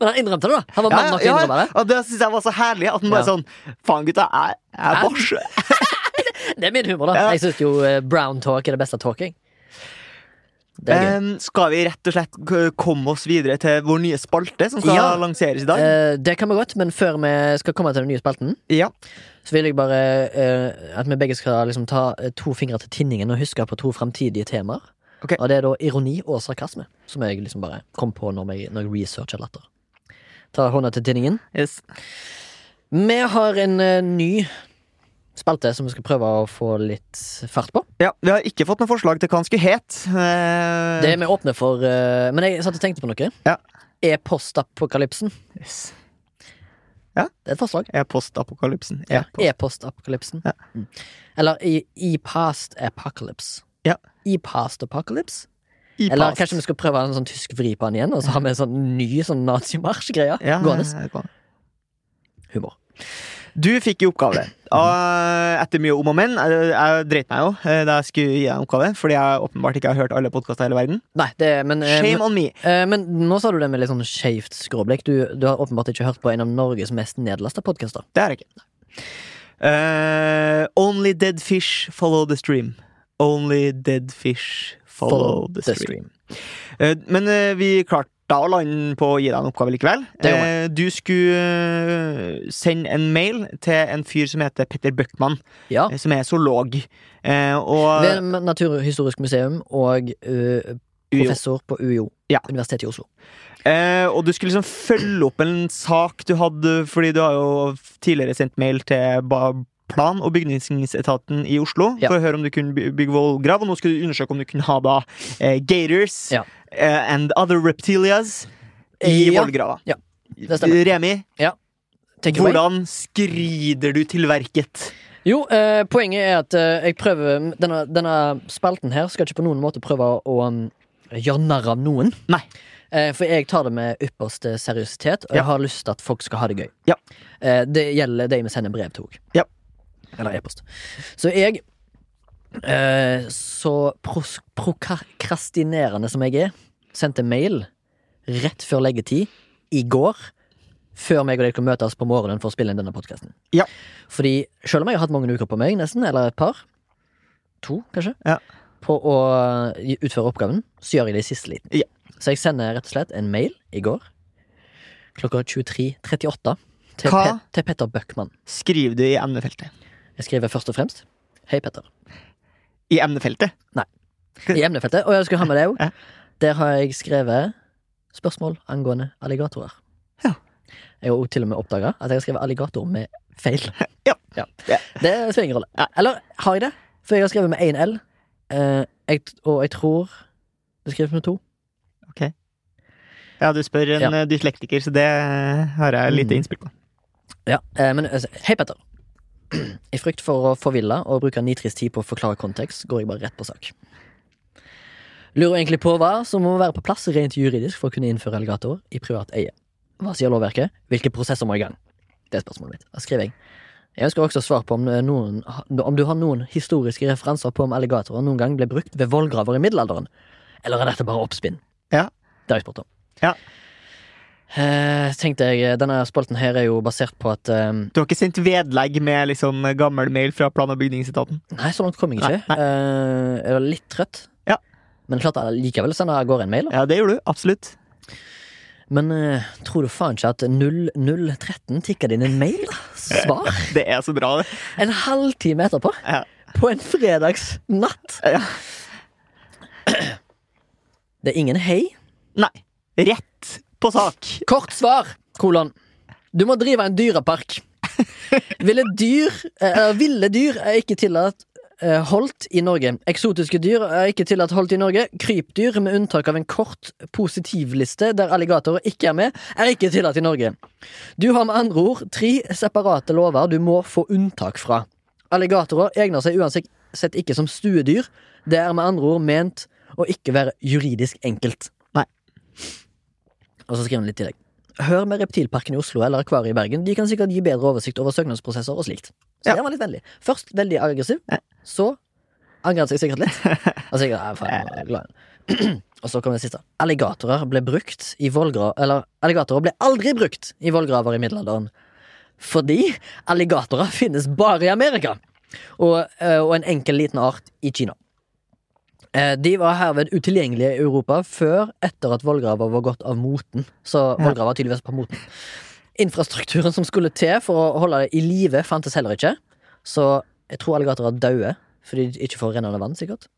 [SPEAKER 2] Men han innrømte det, da. Han var mann nok til å innrømme det.
[SPEAKER 1] Og det syns jeg var så herlig. At han bare
[SPEAKER 2] Ja.
[SPEAKER 1] sånn Faen, gutta, jeg, jeg
[SPEAKER 2] Jeg-
[SPEAKER 1] barser.
[SPEAKER 2] Det er min humor, da.
[SPEAKER 1] Ja.
[SPEAKER 2] Jeg syns jo eh, brown talk er det beste talking. Det er gøy.
[SPEAKER 1] Em, skal vi rett og slett k- komme oss videre til vår nye spalte, som skal
[SPEAKER 2] Ja.
[SPEAKER 1] lanseres i dag?
[SPEAKER 2] Eh, det kan vi godt, men før vi skal komme til den nye spalten,
[SPEAKER 1] ja.
[SPEAKER 2] så vil jeg bare eh, at vi begge skal liksom ta eh, to fingre til tinningen og huske på to framtidige temaer.
[SPEAKER 1] Ok.
[SPEAKER 2] Og det er da ironi og sarkasme, som jeg liksom bare kom på når jeg, når jeg researcher latter. Ta hånda til tinningen.
[SPEAKER 1] Yes.
[SPEAKER 2] Vi har en eh, ny spalte som vi skal prøve å få litt fart på.
[SPEAKER 1] Ja, Vi har ikke fått noe forslag til hva han skulle het. Eh,
[SPEAKER 2] Det er vi åpne for eh, Men jeg satt og tenkte på noe.
[SPEAKER 1] Ja.
[SPEAKER 2] Er postapokalypsen
[SPEAKER 1] yes.
[SPEAKER 2] Det er et forslag.
[SPEAKER 1] Er postapokalypsen.
[SPEAKER 2] Ja,
[SPEAKER 1] Er post.
[SPEAKER 2] E-postapokalypsen.
[SPEAKER 1] Ja.
[SPEAKER 2] Mm. Eller i, i past apocalypse.
[SPEAKER 1] Ja.
[SPEAKER 2] I past apocalypse.
[SPEAKER 1] I
[SPEAKER 2] Eller
[SPEAKER 1] past.
[SPEAKER 2] kanskje vi skal prøve en sånn tysk vri på den igjen, og så har vi en sånn ny sånn nazimarsj-greie
[SPEAKER 1] ja,
[SPEAKER 2] gående.
[SPEAKER 1] ja, ja, gående.
[SPEAKER 2] Humor.
[SPEAKER 1] Du fikk i oppgave.
[SPEAKER 2] Mhm.
[SPEAKER 1] Og etter mye om og men. eh, Jeg dreit meg jo eh, da jeg skulle gi deg oppgave, fordi jeg åpenbart ikke har hørt alle podkaster i hele verden.
[SPEAKER 2] Nei, det men, eh,
[SPEAKER 1] Shame on me.
[SPEAKER 2] eh, men nå sa du det med litt sånn skeivt skråblikk. Du, du har åpenbart ikke hørt på en av Norges mest nedlasta podkaster.
[SPEAKER 1] Det har jeg ikke. Eh, only dead fish follow the stream. Only dead fish follow, the stream. Eh, men eh, vi klarte da å lande på å gi deg en oppgave likevel.
[SPEAKER 2] Det gjorde
[SPEAKER 1] Eh, du skulle eh, sende en mail til en fyr som heter Petter Bøckmann,
[SPEAKER 2] Ja.
[SPEAKER 1] eh, som er zoolog. Eh, og
[SPEAKER 2] Ved Naturhistorisk museum og eh,
[SPEAKER 1] UiO.
[SPEAKER 2] professor på UiO.
[SPEAKER 1] Ja.
[SPEAKER 2] Universitetet i Oslo.
[SPEAKER 1] Eh, og du skulle liksom følge opp en sak du hadde, fordi du har jo tidligere sendt mail til ba plan- og bygningsetaten i Oslo
[SPEAKER 2] Ja.
[SPEAKER 1] for å høre om du kunne by- bygge vollgrav, og nå skulle du undersøke om du kunne ha da eh, gators
[SPEAKER 2] Ja.
[SPEAKER 1] eh, and other reptilias i
[SPEAKER 2] Ja.
[SPEAKER 1] vollgrava.
[SPEAKER 2] Ja. Det stemmer.
[SPEAKER 1] Remi,
[SPEAKER 2] Take it away.
[SPEAKER 1] hvordan skrider du til verket?
[SPEAKER 2] Jo, eh, poenget er at eh, jeg prøver denne, denne spalten her skal ikke på noen måte prøve å um, gjøre narr av noen.
[SPEAKER 1] Nei.
[SPEAKER 2] Eh, for jeg tar det med ypperste seriøsitet, og
[SPEAKER 1] Ja.
[SPEAKER 2] jeg har lyst til at folk skal ha det gøy.
[SPEAKER 1] Ja.
[SPEAKER 2] Eh, det gjelder de vi sender brev til òg.
[SPEAKER 1] Ja.
[SPEAKER 2] Eller e-post. Så jeg, eh, så pros- prokrastinerende som jeg er, sendte mail rett før leggetid i går. Før meg og dere møtes på morgenen for å spille inn denne podkasten.
[SPEAKER 1] Ja.
[SPEAKER 2] Fordi selv om jeg har hatt mange uker på meg, nesten, eller et par, to kanskje,
[SPEAKER 1] Ja.
[SPEAKER 2] på å gi- utføre oppgaven, så gjør jeg det i siste liten.
[SPEAKER 1] Ja.
[SPEAKER 2] Så jeg sender rett og slett en mail i går klokka 23.38 til,
[SPEAKER 1] Hva?
[SPEAKER 2] Pe til Petter Bøckmann.
[SPEAKER 1] Skriver du i emnefeltet?
[SPEAKER 2] Jeg skriver først og fremst Hei, Petter.
[SPEAKER 1] I emnefeltet?
[SPEAKER 2] I emnefeltet. Og jeg skulle ha med deg òg.
[SPEAKER 1] Ja.
[SPEAKER 2] Der har jeg skrevet spørsmål angående alligatorer.
[SPEAKER 1] Ja.
[SPEAKER 2] Jeg har også til og med oppdaga at jeg har skrevet alligator med feil.
[SPEAKER 1] Ja. Ja.
[SPEAKER 2] Det spiller ingen rolle.
[SPEAKER 1] Ja.
[SPEAKER 2] Eller har jeg det? For jeg har skrevet med én L, eh, jeg, og jeg tror det skrives med to.
[SPEAKER 1] Ja, du spør en
[SPEAKER 2] Ja.
[SPEAKER 1] eh, dyslektiker, så det eh, har jeg lite
[SPEAKER 2] Mm.
[SPEAKER 1] innspill på.
[SPEAKER 2] Ja, eh, men altså, hei, Petter. I frykt for å forville og bruke nitrist tid på å forklare kontekst, går jeg bare rett på sak. Lurer egentlig på hva som må være på plass rent juridisk for å kunne innføre alligatorer i privat eie. Hva sier lovverket? Hvilke prosesser må i gang? Det er spørsmålet mitt. Da skriver jeg. Jeg ønsker også svar på om, eh, noen, om du har noen historiske referanser på om alligatorer noen gang ble brukt ved vollgraver i middelalderen. Eller er dette bare oppspinn?
[SPEAKER 1] Ja.
[SPEAKER 2] Det har jeg spurt om.
[SPEAKER 1] Ja.
[SPEAKER 2] Eh, tenkte jeg, Denne spalten her er jo basert på at eh,
[SPEAKER 1] Du har ikke sendt vedlegg med liksom gammel mail fra plan- og bygningsetaten?
[SPEAKER 2] Nei, sånn så langt kom jeg ikke. Eh, jeg var litt trøtt.
[SPEAKER 1] Ja.
[SPEAKER 2] Men klart jeg likevel sender av gårde en mail. da.
[SPEAKER 1] Ja, det gjorde du. Absolutt.
[SPEAKER 2] Men eh, tror du faen ikke at 0013 tikka det inn en mail? da? Svar?
[SPEAKER 1] Det er så bra, det.
[SPEAKER 2] En halvtime etterpå?
[SPEAKER 1] Ja.
[SPEAKER 2] På en fredagsnatt?
[SPEAKER 1] Ja.
[SPEAKER 2] Det er ingen hei.
[SPEAKER 1] Nei. Rett på sak.
[SPEAKER 2] Kort svar, kolon. Du må drive en dyrepark. Ville dyr, eh, ville dyr er ikke tillatt eh, holdt i Norge. Eksotiske dyr er ikke tillatt holdt i Norge. Krypdyr, med unntak av en kort positivliste der alligatorer ikke er med, er ikke tillatt i Norge. Du har med andre ord tre separate lover du må få unntak fra. Alligatorer egner seg uansett ikke som stuedyr. Det er med andre ord ment å ikke være juridisk enkelt.
[SPEAKER 1] Nei.
[SPEAKER 2] Og så skriver han litt i tillegg. Hør med Reptilparken i Oslo eller Akvariet i Bergen. De kan sikkert gi bedre oversikt over søknadsprosesser og slikt. Så
[SPEAKER 1] Ja.
[SPEAKER 2] den var litt vennlig. Først veldig aggressiv,
[SPEAKER 1] Ja.
[SPEAKER 2] så angret jeg sikkert litt. Og så, ja, faen, jeg var glad. og så kom det siste. Alligatorer ble brukt i vollgra... Eller, alligatorer ble aldri brukt i vollgraver i middelalderen. Fordi alligatorer finnes bare i Amerika. Og, eh, og en enkel liten art i Kina. Eh, De var herved utilgjengelige i Europa før etter at vollgraver var gått av moten. Så
[SPEAKER 1] Ja.
[SPEAKER 2] vollgraver var tydeligvis på moten. Infrastrukturen som skulle til for å holde det i live, fantes heller ikke. Så jeg tror alligatorer dauer fordi de ikke får rennende vann, sikkert.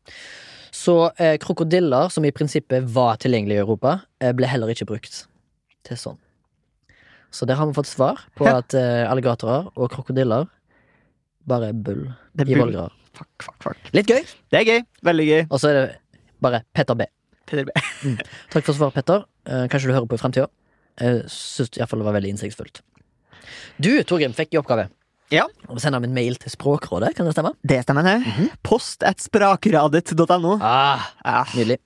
[SPEAKER 2] Så eh, krokodiller, som i prinsippet var tilgjengelige i Europa, eh, ble heller ikke brukt til sånn. Så der har vi fått svar på
[SPEAKER 1] Ja.
[SPEAKER 2] at eh, alligatorer og krokodiller Bare bull
[SPEAKER 1] Det er
[SPEAKER 2] i
[SPEAKER 1] bull.
[SPEAKER 2] vollgraver.
[SPEAKER 1] Fuck, fuck, fuck.
[SPEAKER 2] Litt gøy,
[SPEAKER 1] Det er gøy. Veldig gøy.
[SPEAKER 2] og så er det bare Petter B.
[SPEAKER 1] Petter B.
[SPEAKER 2] Takk for svaret, Petter. Eh, kanskje du hører på i fremtida. Jeg syns iallfall det var veldig innsiktsfullt. Du, Torgrim, fikk i oppgave
[SPEAKER 1] Ja.
[SPEAKER 2] å sende en mail til Språkrådet, kan det stemme?
[SPEAKER 1] Det stemmer, det.
[SPEAKER 2] Mhm.
[SPEAKER 1] Post at sprakradet.no.
[SPEAKER 2] Ah,
[SPEAKER 1] Ja.
[SPEAKER 2] nydelig.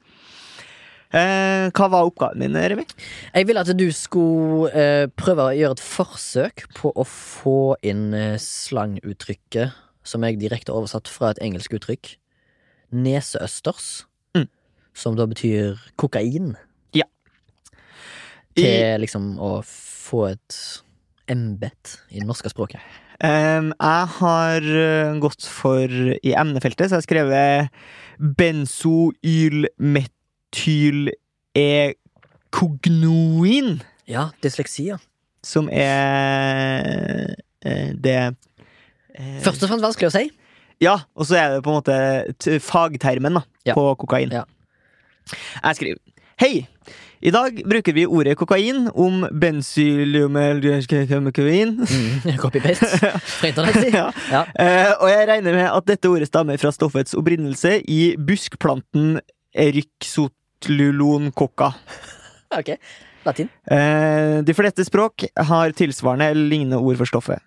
[SPEAKER 1] Eh, hva var oppgaven min, Remi?
[SPEAKER 2] Jeg ville at du skulle eh, prøve å gjøre et forsøk på å få inn eh, slanguttrykket, som jeg direkte har oversatt fra et engelsk uttrykk, neseøsters,
[SPEAKER 1] Mm.
[SPEAKER 2] som da betyr kokain,
[SPEAKER 1] I,
[SPEAKER 2] til liksom å få et embet i det norske språket.
[SPEAKER 1] Ehm, jeg har eh, gått for I emnefeltet så har jeg skrevet benzoylmetyl-ekognoin,
[SPEAKER 2] Ja, dysleksi, ja.
[SPEAKER 1] som er eh, det eh,
[SPEAKER 2] Først og fremst vanskelig å si.
[SPEAKER 1] Ja, og så er det på en måte t fagtermen da,
[SPEAKER 2] Ja.
[SPEAKER 1] på kokain.
[SPEAKER 2] Ja.
[SPEAKER 1] Jeg skriver Hei! I dag bruker vi ordet kokain om benzylumelkokain.
[SPEAKER 2] Copy-paste fra internett. si.
[SPEAKER 1] Mm. ja.
[SPEAKER 2] Ja.
[SPEAKER 1] Eh, og jeg regner med at dette ordet stammer fra stoffets opprinnelse i buskplanten eryxotlulon-kokka.
[SPEAKER 2] Ok, latin.
[SPEAKER 1] Eh, De fleste språk har tilsvarende eller lignende ord for stoffet.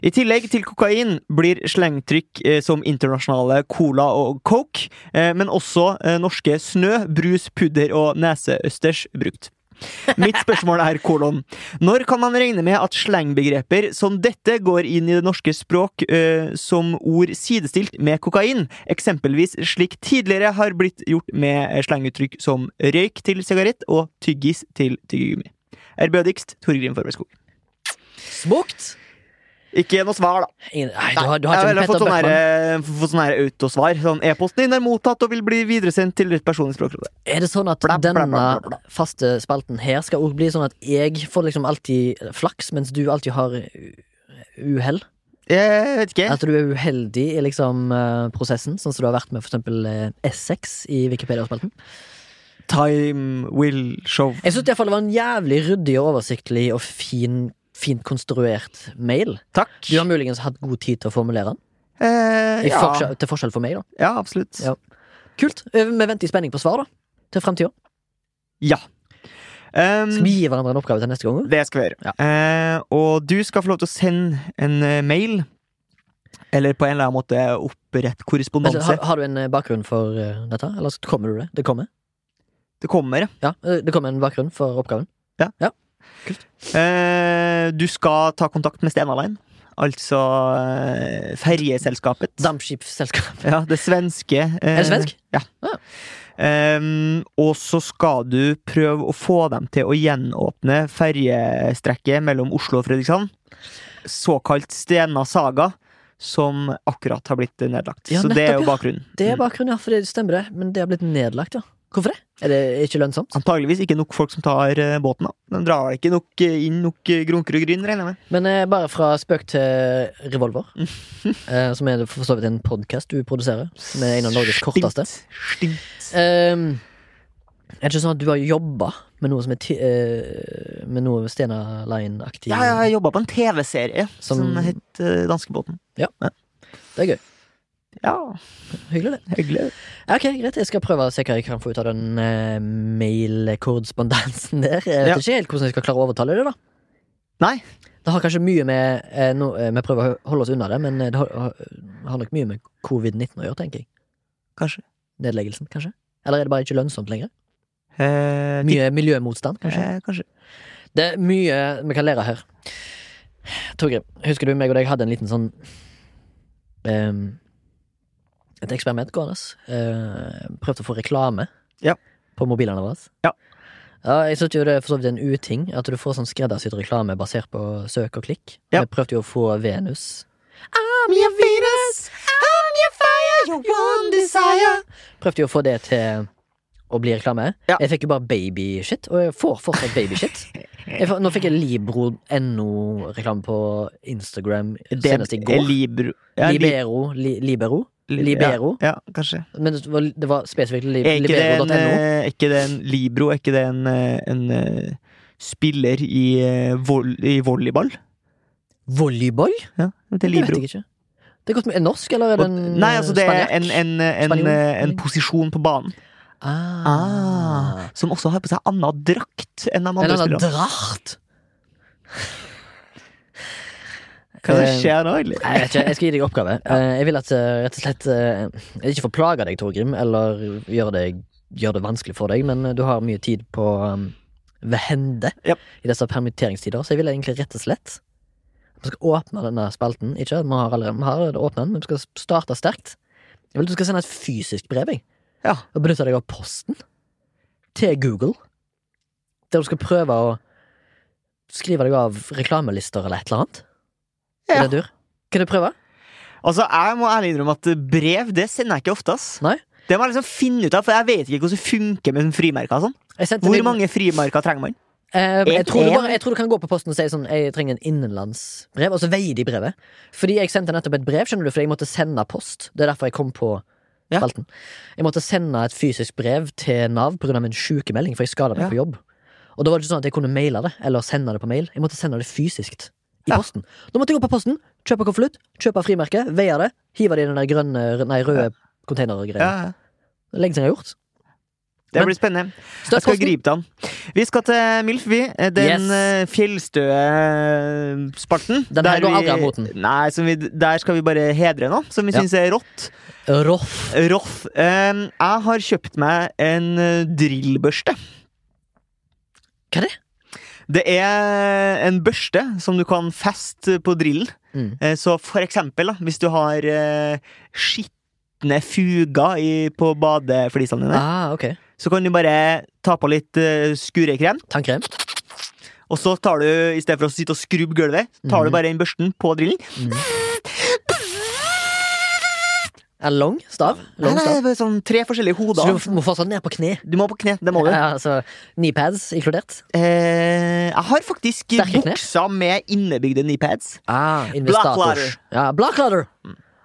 [SPEAKER 1] I tillegg til kokain blir slengtrykk eh, som internasjonale cola og coke, eh, men også eh, norske snø, brus, pudder og neseøsters brukt. Mitt spørsmål er kolon. Når kan man regne med at slengbegreper som dette går inn i det norske språk eh, som ord sidestilt med kokain, eksempelvis slik tidligere har blitt gjort med eh, slenguttrykk som røyk til sigarett og tyggis til tyggegummi? Ærbødigst Torgrim Forbeskog.
[SPEAKER 2] Smukt!
[SPEAKER 1] Ikke noe svar, da.
[SPEAKER 2] Ingen, nei, du har, du har
[SPEAKER 1] jeg
[SPEAKER 2] ikke en
[SPEAKER 1] har fått
[SPEAKER 2] Petter
[SPEAKER 1] sånn her,
[SPEAKER 2] Bøckmann.
[SPEAKER 1] eh, fått sånn her autosvar. Sånn, E-posten din er mottatt og vil bli videresendt til ditt personlige språkråd.
[SPEAKER 2] Er det sånn at
[SPEAKER 1] Bla, bla, bla, bla, bla.
[SPEAKER 2] denne faste spalten her skal også bli sånn at jeg får liksom alltid flaks, mens du alltid har u- uhell?
[SPEAKER 1] Jeg vet ikke.
[SPEAKER 2] At du er uheldig i liksom eh, prosessen, sånn som du har vært med for eksempel eh, Essex i Wikipedia-spalten?
[SPEAKER 1] Time will show.
[SPEAKER 2] Jeg syns det var en jævlig ryddig og oversiktlig og fin, fint konstruert mail.
[SPEAKER 1] Takk.
[SPEAKER 2] Du har muligens hatt god tid til å formulere den,
[SPEAKER 1] Eh,
[SPEAKER 2] I
[SPEAKER 1] ja.
[SPEAKER 2] forskjell, til forskjell for meg, da.
[SPEAKER 1] ja, absolutt.
[SPEAKER 2] Ja. Kult. Eh, Vi venter i spenning på svar da til fremtida.
[SPEAKER 1] Ja. Ehm,
[SPEAKER 2] Skal vi gi hverandre en oppgave til neste gang?
[SPEAKER 1] det skal vi gjøre. Eh, og du skal få lov til å sende en eh, mail. Eller på en eller annen måte opprette
[SPEAKER 2] Men,
[SPEAKER 1] korrespondanse.
[SPEAKER 2] har, har du en eh, bakgrunn for eh, dette? Eller så kommer du det? Det kommer.
[SPEAKER 1] Det kommer.
[SPEAKER 2] Ja, eh, det kommer en bakgrunn for oppgaven.
[SPEAKER 1] Eh, du skal ta kontakt med Stena Line. Altså eh, ferjeselskapet.
[SPEAKER 2] Dampskipsselskap.
[SPEAKER 1] Ja, det svenske. eh,
[SPEAKER 2] Er det svensk?
[SPEAKER 1] Ehm, og så skal du prøve å få dem til å gjenåpne ferjestrekket mellom Oslo og Fredrikshavn. Såkalt Stena Saga, som akkurat har blitt nedlagt.
[SPEAKER 2] Ja,
[SPEAKER 1] så det
[SPEAKER 2] nettopp,
[SPEAKER 1] er jo
[SPEAKER 2] ja.
[SPEAKER 1] bakgrunnen.
[SPEAKER 2] Det er
[SPEAKER 1] Mm.
[SPEAKER 2] bakgrunn, ja. For det stemmer, det. Men det har blitt nedlagt, ja. Hvorfor det? Er det ikke lønnsomt?
[SPEAKER 1] Antageligvis ikke nok folk som tar eh, båten. da. De drar ikke nok eh, inn nok eh, grunker og gryn, regner jeg med.
[SPEAKER 2] Men eh, bare fra spøk til revolver,
[SPEAKER 1] Mm.
[SPEAKER 2] eh, som er for så vidt en podkast du produserer, som er en av Norges korteste.
[SPEAKER 1] Stint. stint.
[SPEAKER 2] Ehm, er det ikke sånn at du har jobba med noe som er ti, eh, Med noe Stena Line-aktig?
[SPEAKER 1] Ja, jeg jobba på en TV-serie som,
[SPEAKER 2] Som-
[SPEAKER 1] het eh, Danskebåten.
[SPEAKER 2] Det er gøy.
[SPEAKER 1] Ja,
[SPEAKER 2] Hyggelig, det.
[SPEAKER 1] hyggelig.
[SPEAKER 2] Ja, Ok, Greit, jeg skal prøve å se hva jeg kan få ut av den eh, mailkorrespondansen der. Eh, Jeg vet
[SPEAKER 1] Ja.
[SPEAKER 2] ikke helt hvordan jeg skal klare å overtale det. da
[SPEAKER 1] Nei.
[SPEAKER 2] Det har kanskje mye med eh, no, eh, Vi prøver å holde oss unna det, men eh, det har, har- har nok mye med covid-19 å gjøre, tenker jeg.
[SPEAKER 1] Kanskje.
[SPEAKER 2] Nedleggelsen, kanskje? Eller er det bare ikke lønnsomt lenger?
[SPEAKER 1] Eh,
[SPEAKER 2] Mye miljømotstand, kanskje?
[SPEAKER 1] eh, kanskje.
[SPEAKER 2] Det er mye vi kan lære her. Torgrim, husker du meg og deg hadde en liten sånn ehm, Et eksperiment gående. eh, prøvde å få reklame
[SPEAKER 1] Ja.
[SPEAKER 2] på mobilene våre.
[SPEAKER 1] Ja.
[SPEAKER 2] Ja, jeg synes jo det er for så vidt en uting at du får sånn skreddersydd reklame basert på søk og klikk.
[SPEAKER 1] Ja.
[SPEAKER 2] Vi prøvde jo å få Venus.
[SPEAKER 1] I'm your Venus, I'm your fire, your one desire.
[SPEAKER 2] Prøvde jo å få det til å bli reklame.
[SPEAKER 1] Ja.
[SPEAKER 2] Jeg fikk jo bare babyshit, og jeg får fortsatt babyshit. Jeg får- Nå fikk jeg Libro.no-reklame på Instagram
[SPEAKER 1] Det
[SPEAKER 2] senest i går.
[SPEAKER 1] er Libro. Ja, li-
[SPEAKER 2] Libero, li, libero.
[SPEAKER 1] li-
[SPEAKER 2] Libero.
[SPEAKER 1] Ja, ja, kanskje.
[SPEAKER 2] Men det var, det var spesifikt li,
[SPEAKER 1] Er ikke det, en,
[SPEAKER 2] libero.no.
[SPEAKER 1] eh, er ikke det en Libro? Er ikke det en, eh, en eh, spiller i, eh, vol i volleyball?
[SPEAKER 2] Volleyball?
[SPEAKER 1] Ja, det er
[SPEAKER 2] Det vet
[SPEAKER 1] Libro.
[SPEAKER 2] jeg ikke. Det er godt med er norsk, eller er det
[SPEAKER 1] Og,
[SPEAKER 2] en
[SPEAKER 1] nei, altså det er
[SPEAKER 2] spanjakk?
[SPEAKER 1] en, en, en, eh, en,
[SPEAKER 2] Spanjol?
[SPEAKER 1] posisjon på banen
[SPEAKER 2] ah.
[SPEAKER 1] ah, som også har på seg annen drakt enn de
[SPEAKER 2] En
[SPEAKER 1] andre
[SPEAKER 2] annen
[SPEAKER 1] spillerne.
[SPEAKER 2] drart!
[SPEAKER 1] Hva er det
[SPEAKER 2] Eh,
[SPEAKER 1] skjer nå, egentlig?
[SPEAKER 2] Nei, Jeg vet ikke, jeg skal gi deg oppgave. Eh, Jeg vil at eh, rett og slett eh, Ikke for å plage deg, Torgrim, eller gjøre deg- gjøre det vanskelig for deg, men eh, du har mye tid på um, ved hende
[SPEAKER 1] Japp.
[SPEAKER 2] i disse permitteringstider, så jeg vil egentlig rett og slett at Vi skal åpne denne spalten. Ikke at vi har allerede vi har allerede åpnet den, men vi skal starte sterkt. Jeg vil at du skal sende et fysisk brev, jeg.
[SPEAKER 1] Ja.
[SPEAKER 2] Og benytte deg av posten til Google, der du skal prøve å skrive deg av reklamelister eller et eller annet.
[SPEAKER 1] Ja.
[SPEAKER 2] Er det dur? Kan du prøve?
[SPEAKER 1] Altså, Jeg må ærlig innrømme at brev det sender jeg ikke ofte. ass
[SPEAKER 2] Nei.
[SPEAKER 1] Det må jeg liksom finne ut av, for jeg vet ikke hvordan det funker med sånn frimerker. og Sånn.
[SPEAKER 2] Jeg sendte
[SPEAKER 1] Hvor
[SPEAKER 2] deg-
[SPEAKER 1] mange frimerker trenger man?
[SPEAKER 2] Eh, jeg,
[SPEAKER 1] En-
[SPEAKER 2] tror du
[SPEAKER 1] en?
[SPEAKER 2] bare, jeg tror du kan gå på posten og si sånn Jeg trenger en innenlandsbrev, og så veier de brevet. Fordi jeg sendte nettopp et brev, skjønner du, fordi jeg måtte sende post. Det er derfor jeg kom på
[SPEAKER 1] Ja.
[SPEAKER 2] spalten. Jeg måtte sende et fysisk brev til Nav pga. min sykemelding, for jeg skada meg
[SPEAKER 1] Ja.
[SPEAKER 2] på jobb. Og da var det ikke sånn at jeg kunne maile det, eller sende det på mail. Jeg måtte sende det fysisk. I
[SPEAKER 1] Ja.
[SPEAKER 2] posten. Da måtte jeg gå på posten, kjøpe konvolutt, kjøpe frimerke, veie det, hive det i den der grønne, nei, røde
[SPEAKER 1] Ja,
[SPEAKER 2] containergreia.
[SPEAKER 1] ja.
[SPEAKER 2] Lenge siden jeg har gjort.
[SPEAKER 1] Det
[SPEAKER 2] Men-
[SPEAKER 1] blir spennende. Jeg
[SPEAKER 2] Støtt
[SPEAKER 1] skal
[SPEAKER 2] posten.
[SPEAKER 1] gripe det an. Vi skal til Milf, vi. Den
[SPEAKER 2] Yes.
[SPEAKER 1] eh, fjellstøe eh, spalten.
[SPEAKER 2] Den her
[SPEAKER 1] Der
[SPEAKER 2] går
[SPEAKER 1] vi-
[SPEAKER 2] aldri av moten.
[SPEAKER 1] Nei, som vi, der skal vi bare hedre noe som vi
[SPEAKER 2] Ja.
[SPEAKER 1] syns er rått.
[SPEAKER 2] Roff.
[SPEAKER 1] Roff. Eh, jeg har kjøpt meg en eh, drillbørste.
[SPEAKER 2] Hva er det?
[SPEAKER 1] Det er en børste som du kan feste på drillen.
[SPEAKER 2] Mm.
[SPEAKER 1] Eh, Så for eksempel, da, hvis du har eh, skitne fuger i, på badeflisene dine,
[SPEAKER 2] Ah, ok.
[SPEAKER 1] så kan du bare ta på litt eh, skurekrem,
[SPEAKER 2] Tannkrem.
[SPEAKER 1] og så tar du, i stedet for å sitte og skrubbe gulvet, tar
[SPEAKER 2] Mhm.
[SPEAKER 1] du bare den børsten på drillen.
[SPEAKER 2] Er det lang stav?
[SPEAKER 1] Nei,
[SPEAKER 2] Lang
[SPEAKER 1] nei,
[SPEAKER 2] stav.
[SPEAKER 1] det er bare sånn tre forskjellige
[SPEAKER 2] Så
[SPEAKER 1] hoder.
[SPEAKER 2] du må fortsatt ned på kne?
[SPEAKER 1] Du må på kne, det må du.
[SPEAKER 2] Ja, altså, Kneepads inkludert?
[SPEAKER 1] Eh, jeg har faktisk
[SPEAKER 2] Sterke kne.
[SPEAKER 1] buksa med innebygde kneepads.
[SPEAKER 2] Ah,
[SPEAKER 1] Blackladder.
[SPEAKER 2] Blackladder. Ja, blackladder.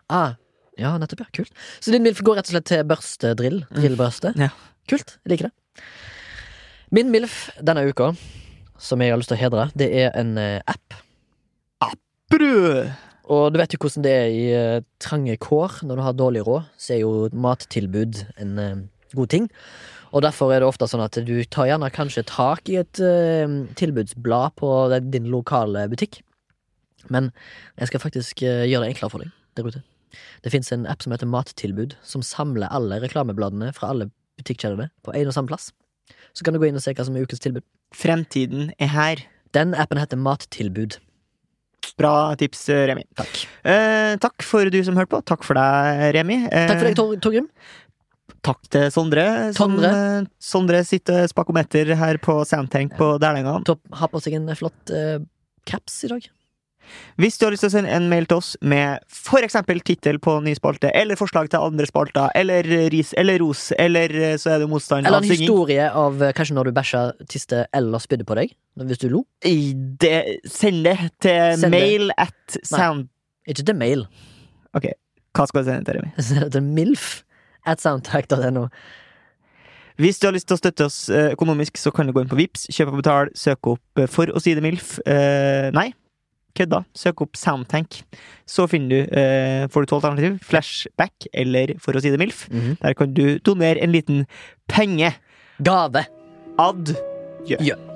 [SPEAKER 2] Ah, ja, nettopp. ja, Kult. Mm. Så din MILF går rett og slett til børstedrill? Drillbørste?
[SPEAKER 1] Ja.
[SPEAKER 2] Kult. Jeg liker det. Min MILF denne uka, som jeg har lyst til å hedre, det er en eh, app.
[SPEAKER 1] Brød!
[SPEAKER 2] Og du vet jo hvordan det er i eh, trange kår når du har dårlig råd, så er jo mattilbud en eh, god ting. Og derfor er det ofte sånn at du tar gjerne kanskje tak i et eh, tilbudsblad på den- din lokale butikk. Men jeg skal faktisk eh, gjøre det enklere for deg der ute. Det fins en app som heter Mattilbud, som samler alle reklamebladene fra alle butikkjedene på én og samme plass. Så kan du gå inn og se hva som er ukens tilbud.
[SPEAKER 1] Fremtiden er her.
[SPEAKER 2] Den appen heter Mattilbud.
[SPEAKER 1] Bra tips, Remi.
[SPEAKER 2] Takk.
[SPEAKER 1] Eh, takk for du som hørte på. Takk for deg, Remi. Eh,
[SPEAKER 2] Takk for deg, Tor Torgrim.
[SPEAKER 1] Takk til Sondre. som,
[SPEAKER 2] Sondre.
[SPEAKER 1] eh, Sondre sitter spakometer her på Soundtank på Dælenga.
[SPEAKER 2] Topp har på seg en flott eh, caps i dag.
[SPEAKER 1] Hvis du har lyst til å sende en mail til oss med f.eks. tittel på ny spalte, eller forslag til andre spalter, eller ris eller ros, eller eh, så er du motstand
[SPEAKER 2] Eller
[SPEAKER 1] av
[SPEAKER 2] en
[SPEAKER 1] synging
[SPEAKER 2] historie av eh, kanskje når du bæsja, tiste eller spydde på deg. Hvis du lo.
[SPEAKER 1] I det- Send det til
[SPEAKER 2] Send det.
[SPEAKER 1] mail at sound...
[SPEAKER 2] Ikke til mail.
[SPEAKER 1] Hva skal jeg sende til, Remi?
[SPEAKER 2] Så er det til milf at soundtrack.no.
[SPEAKER 1] Hvis du har lyst til å støtte oss eh, økonomisk, så kan du gå inn på Vips, kjøp og betal, søk opp eh, For å si det milf. Eh, nei, kødda. Søk opp Soundtank. Så finner du, eh, får du to alternativ. Flashback eller For å si det milf. Der kan du donere en liten penge.
[SPEAKER 2] Gave.
[SPEAKER 1] Ad.
[SPEAKER 2] Gjør.